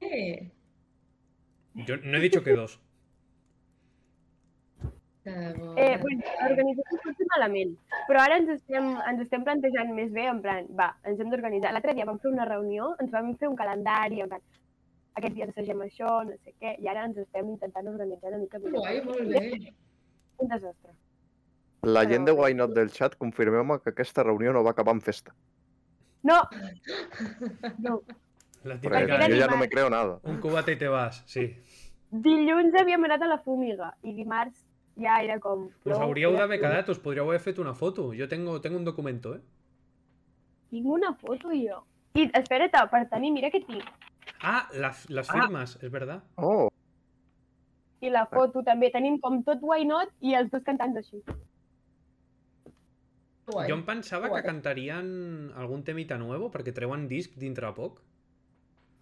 Eh, Yo no he dicho que dos. que bo. Eh, bueno, l'organització potser malament, però ara ens estem, ens estem plantejant més bé, en plan, va, ens hem d'organitzar. L'altre dia vam fer una reunió, ens vam fer un calendari, en plan, aquests dies assagem això, no sé què, i ara ens estem intentant organitzar una mica millor. Guai, molt bé. Un desastre. La gent de però- Why Not del chat, confirmeu-me que aquesta reunió no va acabar en festa. No! No. La Perquè típica, Era jo ja animal. no me creo nada. un cubate y te vas, sí. Dilluns havíem anat a la fúmiga i dimarts ja era com... Us no, hauríeu era d'haver quedat, us podríeu haver fet una foto. Jo tengo, tengo un documento, eh? Tinc una foto jo. I espera't, oh, per tenir, mira que tinc. Ah, la- las firmas, es verdad. Oh, I la foto també, tenim com tot Why Not i els dos cantants així. Guai. Jo em pensava que Guai. cantarien algun temita nuevo perquè treuen disc dintre poc.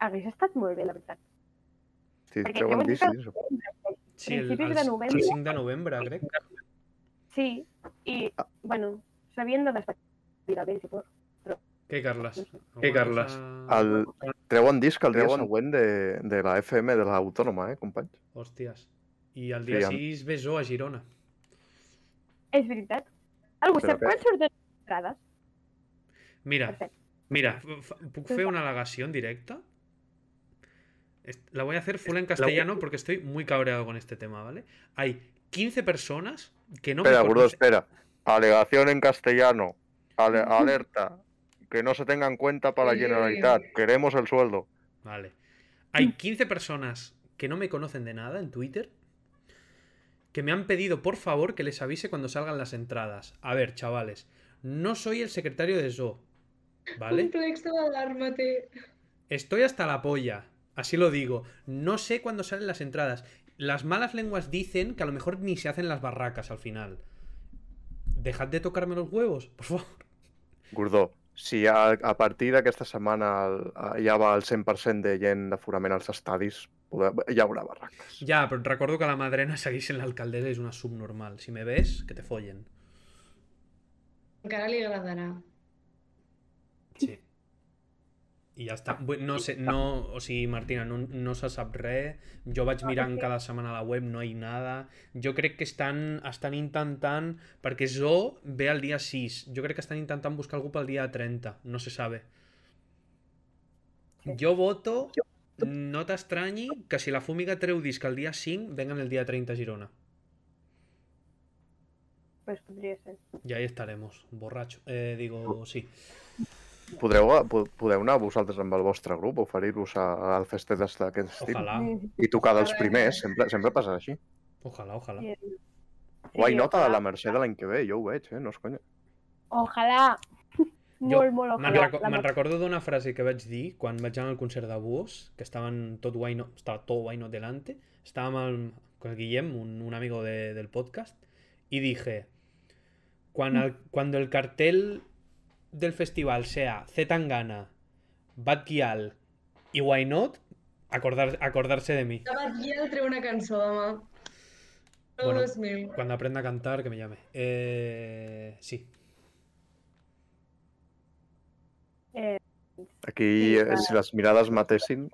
Hagués estat molt bé, la veritat. si Perquè treuen llavors discs. estava- discs. Sí, el, Principis el, de el novembre. 5 de novembre, crec. Sí, i, bueno, s'havien de despedir bé, si fos. Què, Carles? Què, Carles? Alguna cosa- El... Treuen disc el dia Treuen- següent de, de la FM de l'Autònoma, eh, companys? Hòsties. I el Sí, dia amb- 6 ves jo a Girona. És veritat. Algú Però sap què? quan surten les entrades? Mira, Perfecte. mira, f- f- ¿puc hacer una alegación directa? Est- La voy a hacer full en castellano porque estoy muy cabreado con este tema, ¿vale? Hay 15 personas que no me espera, Gordo, conocen. espera. Alegación en castellano. Ale- alerta. Que no se tenga en cuenta para la Oye. generalidad. Queremos el sueldo. Vale. Hay 15 personas que no me conocen de nada en Twitter que me han pedido, por favor, que les avise cuando salgan las entradas. A ver, chavales, no soy el secretario de Zoo, ¿vale? Complex d'alarma té. Estoy hasta la polla, así lo digo. No sé cuándo salen las entradas. Las malas lenguas dicen que a lo mejor ni se hacen las barracas al final. Dejad de tocarme los huevos, por favor. Gordó, si a, a partir d'aquesta setmana el, a- ja va al 100% de gent d'aforament als estadis, poder, ja hi haurà barraques. Ya, pero recuerdo que a la madrena seguís en la alcaldesa y es una subnormal. Si me ves, que te follen. Encara li agradarà. Sí. I ja està. Vull- No sé, no, o sigui, Martina, no, no se sap res. Jo vaig No, mirant perquè- cada setmana a la web, no hi nada. Jo crec que estan, estan intentant... Perquè Zo ve el dia 6. Jo crec que estan intentant buscar algú pel dia 30. No se sabe. Jo voto... No t'estranyi que si la fúmiga treu disc el dia 5, vengan el dia 30 a Girona. Pues podria ser. Y ahí estaremos, borracho. Eh, digo, sí. Podreu, eh, po- podeu anar vosaltres amb el vostre grup, oferir-vos a- al festetes d'aquest estil Ojalà, Sí, i tocar dels primers, sempre, sempre passa així. ojalà, ojalà. sí. Guai Sí, nota de ojalà. la Mercè de l'any que ve, jo ho veig, eh? no és conya. Ojalà. Molt, molt Me'n ojalà. reco La me'n Mercè- recordo d'una frase que vaig dir quan vaig anar al concert de Búhos, que estaven tot guai no, estava tot guai no delante, estàvem al, con el Guillem, un, un amigo de, del podcast, y dije, cuando el, cuando el cartel del festival sea Z Tangana, Bad Gyal y Why Not, acordar, acordarse de mí. La Batguia treu una cançó demà. El Bueno. 2000. Cuando aprenda a cantar, que me llame. Eh, sí, Eh, Aquí, Sí, eh, clar. si les mirades matessin...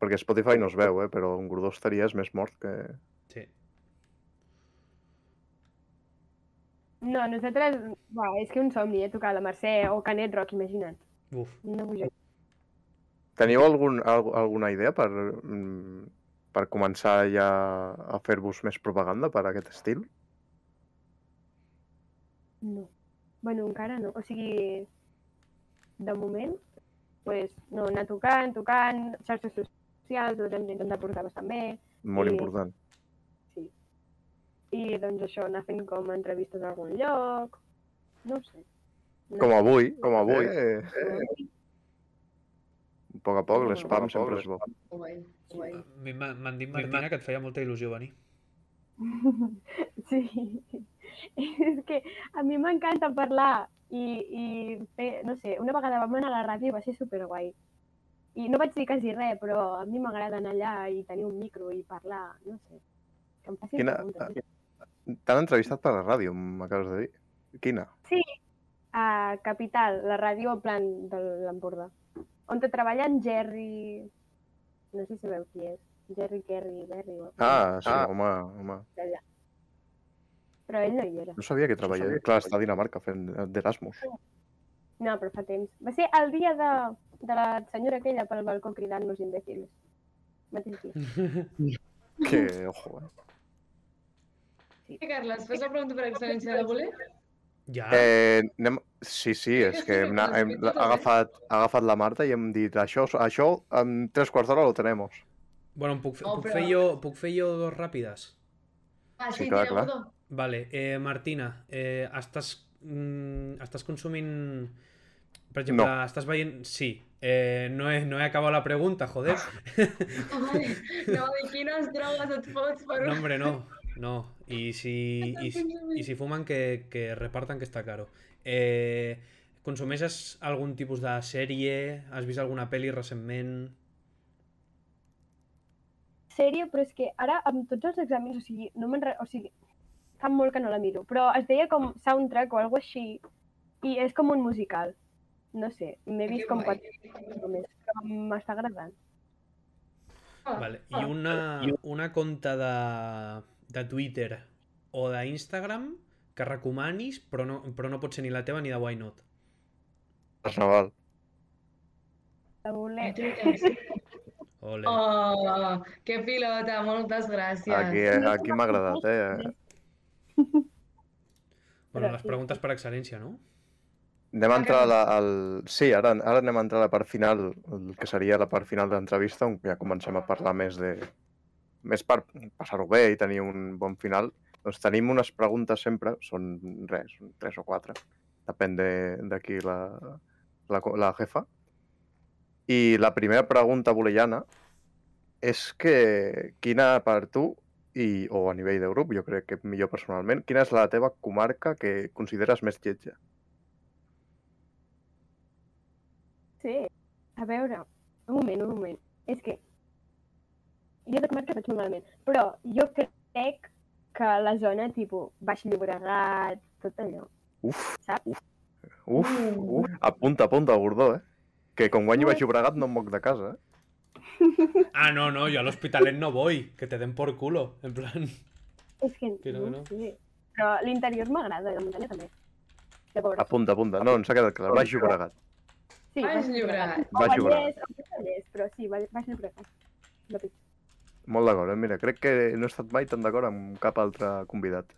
Perquè Spotify no es veu, eh? però un gordó estaria és més mort que... sí. no, nosaltres... Buà, és que un somni, eh, tocar la Mercè o Canet Rock, imagina't. Uf. No vull jo. Teniu algun, al, alguna idea per, mm, per començar ja a fer-vos més propaganda per aquest estil? No. Bueno, encara no. O sigui, de moment, pues, no, anar tocant, tocant, xarxes socials, doncs hem d'intentar portar bastant bé, molt Sí. important. I doncs això, anar fent com entrevistes a algun lloc, no ho sé. No. Com avui, com avui. Eh, Eh, a poc a poc, l'espam A poc a sempre poc, és bo. Guai, guai. A mi m'ha- M'han dit, Martina, que et feia molta il·lusió venir. Sí, és que a mi m'encanta parlar i, i fer, no sé, una vegada vam anar a la ràdio i va ser superguai. I no vaig dir quasi res, però a mi m'agrada anar allà i tenir un micro i parlar, no sé, que em facin Quina- eh, preguntes. T'han entrevistat per la ràdio, m'acabes de dir. Quina? A Capital, la ràdio en plan de l'Empordà, on te treballa en Jerry, no sé si sabeu qui és, Jerry, Kerry, Berry... o- Ah, sí, Ah. home, home. Però ell no hi era. No sabia que treballava. Clar, està a Dinamarca fent d'Erasmus. Ah. No, però fa temps. Va ser el dia de, de la senyora aquella pel balcó cridant los imbéciles. Mateix dia. Que, ojo, eh? Sí, Eh, Carles, fes la pregunta per excel·lència de voler? Ja. Eh, anem... Sí, sí, és Sí, que sí, hem, na- sí, hem sí, sí. agafat, ha agafat la Marta i hem dit això, això en tres quarts d'hora lo tenemos. Bueno, puc, fer, No, puc, però- fer jo, puc fer jo dos ràpides. Ah, Sí, sí, clar, tira, clar. perdó. Vale, eh, Martina, eh, estàs, mm, estàs consumint... Per exemple, No. estàs veient... Sí, eh, no, he, no he acabat la pregunta, joder. Ai, no, de quines drogues et fots per No, un... hombre, no. No. Y si, y, si- y si fuman, que, que repartan, que está caro. Eh, consumeixes algun tipus de sèrie? Has vist alguna pel·li recentment? Sèrio, però és que ara amb tots els exàmens, o sigui, no me'n... re- O sigui, fa molt que no la miro, però es deia com soundtrack o alguna així, i és com un musical. No sé, m'he vist com quatre només, però m'està agradant. Vale. I una, una conta de, de Twitter o d'Instagram que recomanis, però no, però no pot ser ni la teva ni de Why Not. Carnaval. La voler... Ole. Oh, que pilota, moltes gràcies. Aquí, aquí m'ha agradat, eh? bueno, les preguntes per excel·lència, no? Anem a entrar a la, al... Sí, ara, ara anem a entrar a la part final, el que seria la part final de l'entrevista, on ja comencem a parlar més de... Més per passar-ho bé i tenir un bon final. Doncs tenim unes preguntes sempre, són res, tres o quatre, depèn de, de qui la, la, co- la jefa. I la primera pregunta bolellana és que quina per tu, i, o a nivell de grup, jo crec que millor personalment, quina és la teva comarca que consideres més lletja? Sí, a veure, un moment, un moment. És que jo de comarca vaig molt malament, però jo crec que la zona tipus Baix Llobregat, tot allò, Uf! saps? Uf, Mm. uf, apunta, apunta, Gordó, eh? Que com guanyo vaig Llobregat no em moc de casa, eh? Ah, no, no, jo a l'Hospitalet no voy, que te den por culo, en plan... És que, Que no, no, no. no. sé. Però l'interior m'agrada, i la muntanya també. Llavors, Apunta, apunta. No, ens ha quedat clar. Baix Llobregat. sí, Baix Llobregat. O Baix Llobregat. Vallès, o Vallès, però sí, Vall- Baix Llobregat. No pitjor. Molt d'acord, eh? Mira, crec que no he estat mai tan d'acord amb cap altre convidat.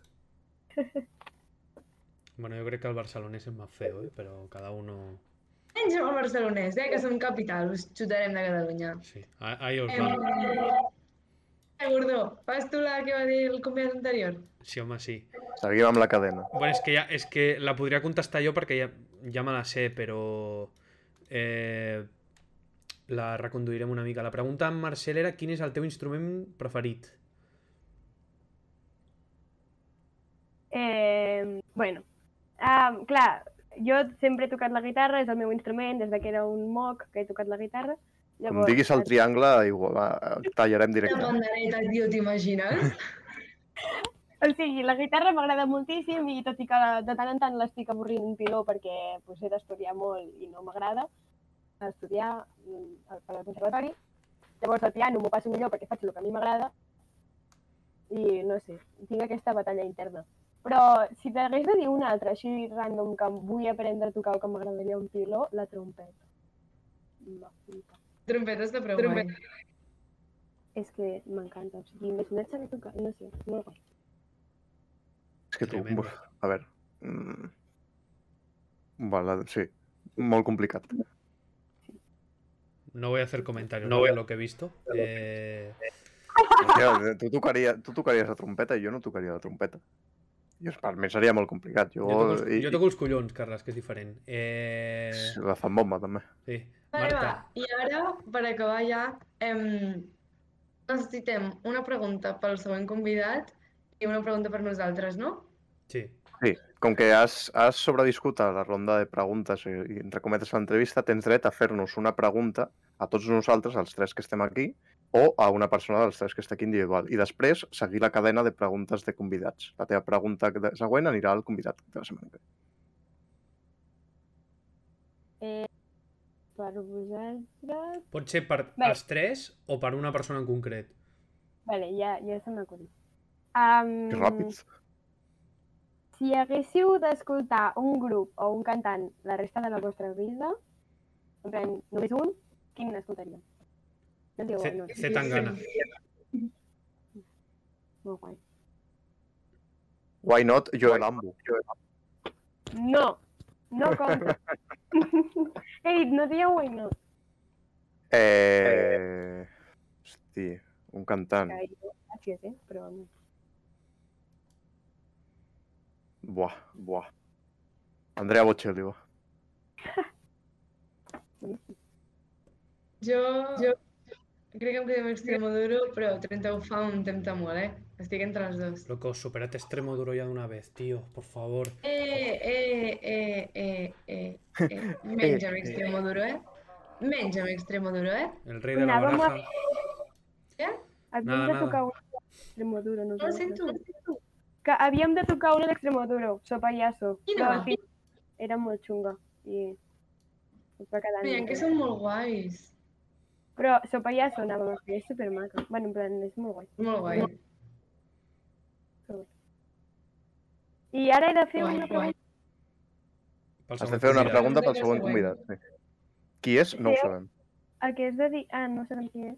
Bueno, jo crec que el barcelonès és més feo, eh? però cada uno... Menys el barcelonès, eh, que som capital, us xutarem de Catalunya. Sí, Ah- ahí os va. Eh, Gordó, fas tu la que va dir el convidat anterior? Sí, home, sí. Seguim amb la cadena. Bueno, és que, ja, és que la podria contestar jo perquè ja, ja me la sé, però... Eh, la reconduirem una mica. La pregunta en Marcel era quin és el teu instrument preferit? Eh, bueno, um, clar, jo sempre he tocat la guitarra, és el meu instrument, des de que era un moc que he tocat la guitarra. Com diguis eh, el triangle, igual, va, tallarem La directament. pandereta, tio, t'imagines? O sigui, la guitarra m'agrada moltíssim i tot i que de tant en tant l'estic avorrint un piló perquè pues, he d'estudiar molt i no m'agrada estudiar mm, al- per al conservatori. Llavors el piano m'ho passo millor perquè faig el que a mi m'agrada i no sé, tinc aquesta batalla interna. Però si t'hagués de dir una altra així random que em vull aprendre a tocar o que m'agradaria un piló, la trompeta. Va, flipa. Trompetes de prou. eh? Trompeta. guai. És que m'encanta, o sigui, imaginar-se que tocar, no sé, molt guai. És que tu... Tremendo. Uf, a veure... Mm. Vale, sí. Molt complicat. No voy a hacer comentarios No ¿no? voy de a- lo que he visto. Eh, Hòstia, tu, tocaria, tu tocaries la trompeta i jo no tocaria la trompeta. I per mi seria molt complicat. Jo, Jo toco, els, i, jo toco els collons, Carles, que és diferent. Eh, i la fan bomba, també. sí. Vale, Marta, va. I ara, per acabar ja, em... necessitem una pregunta pel següent convidat i una pregunta per nosaltres, no? sí. Sí, com que has, has sobrediscut a la ronda de preguntes i, i entre cometes l'entrevista, tens dret a fer-nos una pregunta a tots nosaltres, els tres que estem aquí, o a una persona dels tres que està aquí individual. I després seguir la cadena de preguntes de convidats. La teva pregunta de- següent anirà al convidat de la setmana que ve. Per vosaltres... Pot ser per Bé. els tres o per una persona en concret. Vale, ja, ja se m'ha acudit. Um, Que ràpid. Si haguéssiu d'escoltar un grup o un cantant la resta de la vostra vida, en plan, només un, quin escoltaríeu? No diu, Se, no, se tan gana. molt guai. Why not Joel Ambu? No, no compta. He dit, no dieu oi, no. Eh... Hosti, un cantant. Que jo- Gràcies, eh? Però no. Buah, buah. Andrea Bocelli, va. Jo... jo... Crec que em quedo amb Extremo Duro, però 31 fa un temps molt, eh? Estic entre els dos. Loco, superate extremo duro ya de una vez, tío, por favor. Eh, eh, eh, eh, eh, eh. Menja amb Extremo Duro, eh? Menja amb Extremo Duro, eh? El rey de la Nada, vamos a- baraja. Havíem Nada, de nada. tocar un d'Extremoduro, no? No ho sento. Que havíem de tocar un d'Extremoduro, so payaso. Quina? Però, en fi, era molt xunga i es va quedar... en Mira, mi. que són molt guais. Però so payaso anàvem a fer, és supermaco. Bueno, en plan, és molt guai. Molt guai. I ara he de fer Guai, una guai. pregunta. Pel Has de següent fer una convidat. pregunta pel Convidat següent convidat. següent. sí. Qui és? No ho Sí. sabem. El que és de dir... Ah, no sabem qui és.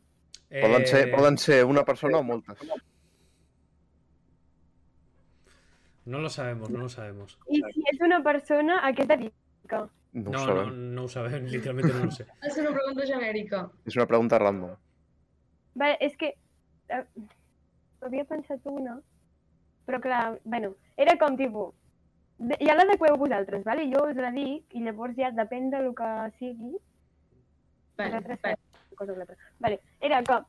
Eh, Poden ser, poden ser una persona o moltes. No lo sabemos, no lo sabemos. I si és una persona, a què es dedica? No, ho No, no, sabem. no ho sabemos, literalmente no lo sé. És una pregunta genèrica. És una pregunta random. Vale, és que... eh, Havia pensat una, però clar, bueno, era com tipus... de- Ja l'adequeu vosaltres, vale? jo us la dic i llavors ja depèn del que sigui. Vale, vosaltres vale. feu una cosa o l'altra. Vale, era com,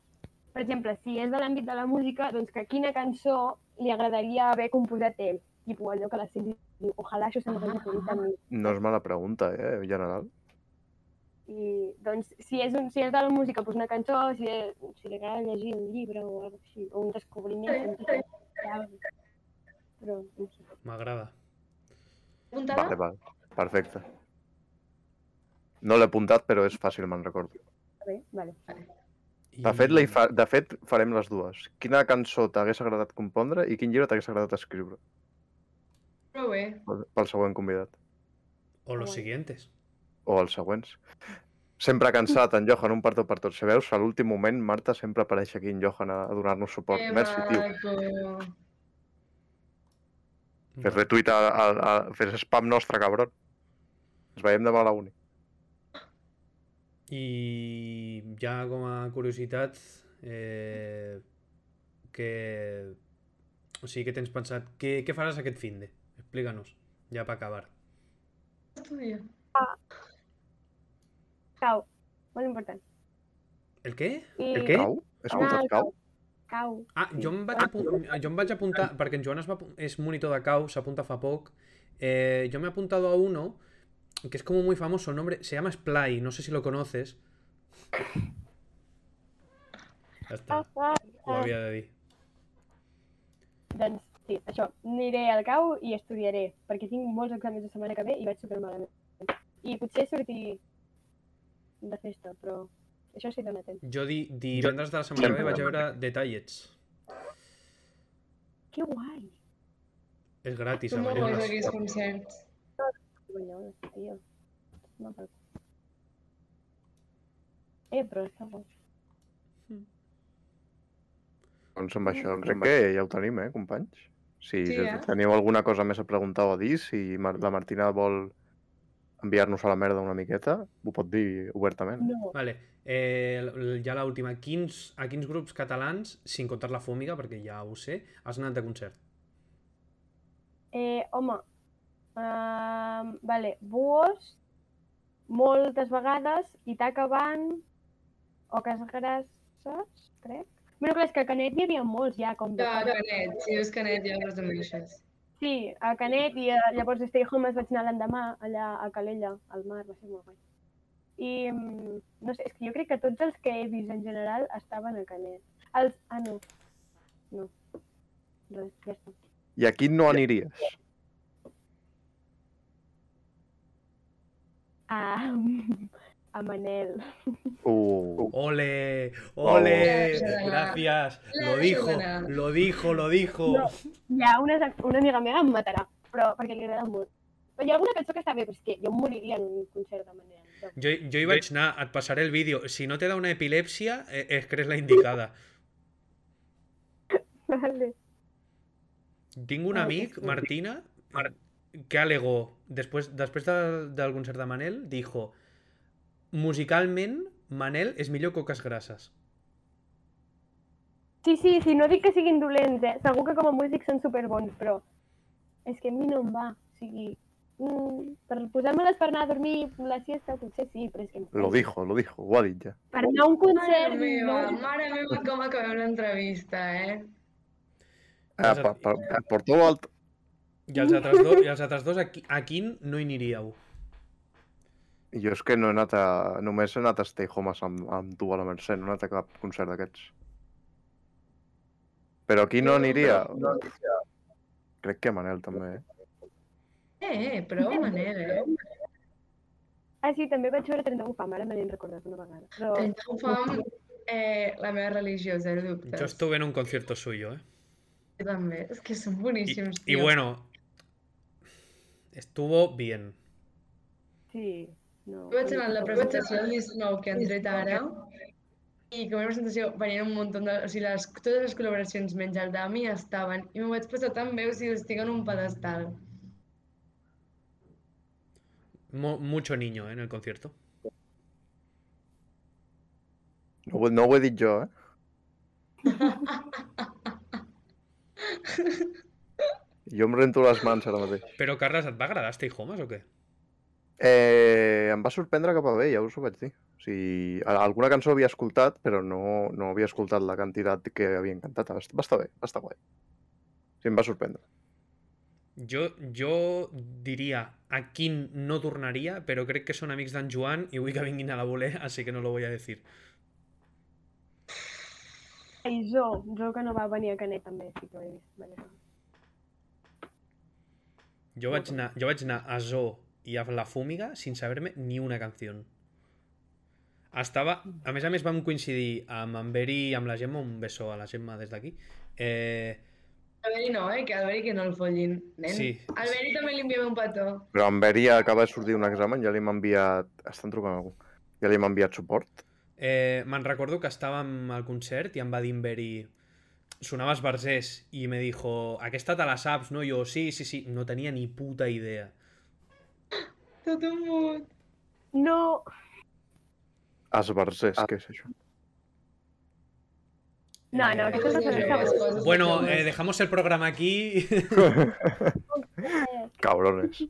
per exemple, si és de l'àmbit de la música, doncs que quina cançó li agradaria haver composat ell. Tipo allò que la Cindy diu, ojalà això se Ah. m'hagués acudit a mi. No és mala pregunta, eh, en general. I doncs, si és, un, si és de la música, doncs una cançó, si, si li agrada llegir un llibre o alguna així, o un descobriment. un llibre, algo. Però, no sé. Me agrada. Apuntada? Vale, vale. Perfecte. No l'he apuntat, però és fàcil, me'n recordo. Bé, vale. I- De fet, la hi fa... de fet, farem les dues. Quina cançó t'hagués agradat compondre i quin llibre t'hagués agradat escriure Prou bé. pel pel següent convidat. O los Guai. siguientes. O els següents. Sempre cansat, en Johan, un partó per tots. Si veus, a l'últim moment, Marta sempre apareix aquí en Johan a, a donar-nos suport. Que Merci, tio. maco. Fes retuit, a, a, a, fes spam nostre, cabron. Ens veiem demà a la uni. I ja com a curiositat, eh, que... O sigui, què tens pensat? Què, què faràs aquest finde? Explica-nos, ja per acabar. Estudia. Cau, molt important. El què? I... El què? Cau? He escoltat cau? Cau. Ah, jo em vaig, apun... jo em vaig apuntar, perquè en Joan es va... apu- és monitor de cau, s'apunta fa poc. Eh, yo me he apuntado a uno que es como muy famoso, nombre, se llama Splay, no sé si lo conoces. Ya Ah, está, ah, ho ah. havia de dir. Doncs sí, això, aniré al cau i estudiaré, perquè tinc molts exàmens la setmana que ve i vaig supermalament. I potser sortir de festa, però això sí que no temps. Jo di, divendres de la setmana que ve vaig a veure Detallets. Que guai! És gratis, eh, a Són molt guais Banyoles. aquests concerts. Banyoles, tio. No, però... Eh, però està bo. Doncs amb això crec que ja ho tenim, eh, companys? Si Sí, eh? teniu alguna cosa més a preguntar o a dir, si Mar la Martina vol enviar-nos a la merda una miqueta, ho pot dir obertament. No. Vale. Eh, l- ja l'última. Quins, a quins grups catalans, sin comptar la fòmica, perquè ja ho sé, has anat de concert? Eh, home, um, vale, Buos, moltes vegades, Itaca Van, Oques Grasses, crec. Bueno, clar, és que a Canet n'hi havia molts ja, com de... De Canet, si dius Canet ja resumeixes. Sí, a Canet i a, llavors a Stay Home es vaig anar l'endemà allà a Calella, al mar, va ser molt guai. I mm, no sé, és que jo crec que tots els que he vist en general estaven a Canet. Els... Ah, no. No. Res, ja està. I aquí no aniries. Ah, a Manel. Uh, ¡Ole! ¡Ole! Vamos. Gracias. La Lo dijo, ayuda. lo dijo, lo dijo. No. Hi ha una, una amiga meva em matarà, però perquè li agrada molt. Però hi ha alguna cançó que està bé, però és que jo em moriria en un concert de Manel. Jo- Yo, yo iba a Chna, a pasar el vídeo. Si no te da una epilepsia, eh, es que eres la indicada. Vale. Tinc un Ai, amic, sí. Martina, que alegó, després, després de, del concert de Manel, dijo musicalment Manel és millor que Oques Grasses. Sí, sí, sí, no dic que siguin dolents, eh? Segur que com a músics són superbons, però és que a mi no em va. O sigui, mm, per posar-me-les per anar a dormir la siesta potser sí, però és que... lo dijo, lo dijo, ho ha dit ja. Per anar a un Mare concert... meva, No... mare meva, com acabem l'entrevista, eh? Ah, per, per, per tot l'alt... I els altres dos, i els altres dos a, qui- a quin no hi aniríeu? Jo és que no he anat a... Només he anat a Stay Home amb, amb tu a la Mercè, no he anat a cap concert d'aquests. Però aquí no aniria. Crec que Manel també. eh? Eh, eh, però Manel, eh? Ah, sí, també vaig veure 31 fam, ara me n'he recordat una vegada. Però... Ho fam eh, la meva religió, zero dubtes. Yo estuve en un concierto suyo, ¿eh? Jo també. És que són Y- boníssims, y tio. bueno, estuvo bien. Sí, no... Jo vaig anar a la presentació del 19 que han tret ara i com era una presentació venien un munt de... O sigui, les, totes les col·laboracions menys el Dami estaven i m'ho vaig passar tan bé, o sigui, estic en un pedestal. Mo- mucho niño ¿eh? en el concierto. No, ho- no ho he dit jo, eh? Jo em rento les mans ara mateix. Pero Carles, et va agradar Stay Homes o qué? Eh, em va sorprendre cap a bé, ja us ho vaig dir. O sigui, a- alguna cançó havia escoltat, però no, no havia escoltat la quantitat que havien cantat. Va est- va estar bé, va estar guai. Sí, em va sorprendre. Yo yo diría a quin no tornaria, pero crec que son amics d'en Joan i vull que vinguin a la voler, así que no lo voy a decir. I Jo, Jo que no va venir a Canet també, sí que ho he vist. Vale. Jo vaig anar, jo vaig anar a Zoo i a La Fúmiga sin saber-me ni una canció. Estava... A més a més vam coincidir amb en Beri i amb la Gemma, un beso a la Gemma des d'aquí. Eh, A Beri no, eh? Que a Beri que no el follin, nen. Sí. Al Beri també li enviem un petó. Però en Beri acaba de sortir un examen, ja li hem enviat... Estan trucant a algú. Ja li hem enviat suport. Eh, me'n recordo que estàvem al concert i em va dir en Beri sonava esbarzers i me dijo aquesta te la saps, no? Jo, sí, sí, sí, no tenia ni puta idea. Tot un mut. No, Ah. Esbarzers, què és això? no, no, Eh, aquestes no són eh, les coses. Bueno, eh, dejamos el programa aquí. Eh, Cabrones.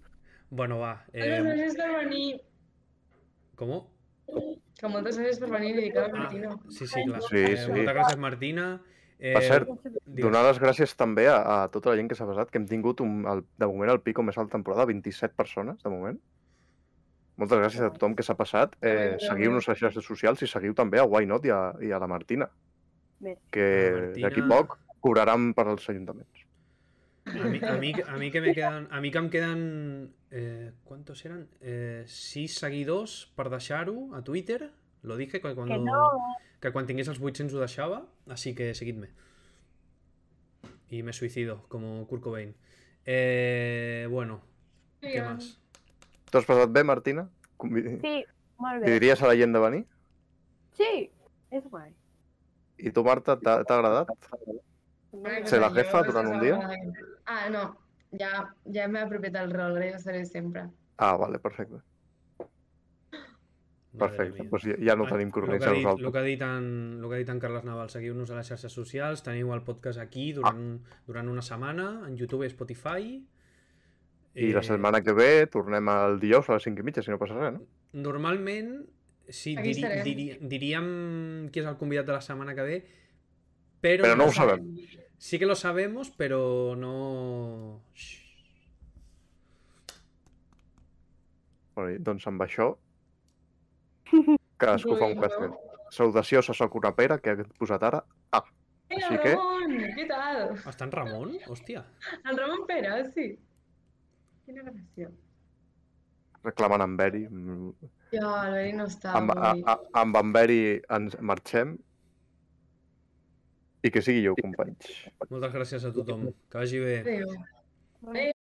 bueno, va. Moltes Eh, gràcies per venir. ¿Cómo? Que moltes gràcies per venir i dedicar a la Ah, Martina. sí, sí, clar. Sí, Eh, sí. Moltes gràcies, Martina. Eh, Per cert, digues. donar les gràcies també a, a tota la gent que s'ha basat, que hem tingut un, el, de moment el pico més alt de temporada, 27 persones de moment. Moltes gràcies a tothom que s'ha passat. Eh, Seguiu-nos a les xarxes socials i seguiu també a Why Not i a, i a la Martina, Bé. que La Martina. d'aquí poc cobraran per als ajuntaments. A mí, a mí- a mí que me quedan. A mí que me quedan. eh, ¿Cuántos eran? Eh, sis seguidors per deixar-ho a Twitter. Lo dije que cuando. Que no. que quan tingués els 800 ho deixava, així que seguidme. Y me suicido, como Kurt Cobain. Eh, bueno, ¿qué más? T'ho has passat bé, Martina? Convi- Sí, molt Li bé. diries a la gent de venir? Sí, és guai. I tu, Marta, t'ha t'ha agradat? Una Ser la cosa, jefa jo, durant aquesta un dia? vegada- Ah, no. Ja, ja m'he apropiat el rol, ara ja ho seré sempre. Ah, vale, perfecte. Madre Perfecte, mía. doncs ja, ja no Ah, tenim El coronets que, a ha dit, el nosaltres. que ha dit en, el que ha dit en Carles Naval, seguiu-nos a les xarxes socials, teniu el podcast aquí durant, un- durant una setmana, en YouTube i Spotify. I la Eh, setmana que ve tornem el dijous a les 5 i mitja, si no passa res, no? Normalment, sí, Aquí diri, estarem. diri, diríem qui és el convidat de la setmana que ve, però, Però no ho sa- sabem. Sí que lo sabemos, pero no... Shh. Bueno, i doncs amb això, cadascú fa un Incloïm, que no? fem. Salutació, se soc una pera, que he posat ara. Ah, Eh, Així el que- Ramon! Què tal? ¿Hasta en Ramón? Hostia. El Ramon Pere, sí. Quina gràcia. reclamant en Beri. Mm, Ja, el Beri Ah, no està Amb, a, avui. a, amb en Beri ens marxem. I que sigui jo, companys. Muchas gracias a tothom. Que vagi bé. Adéu.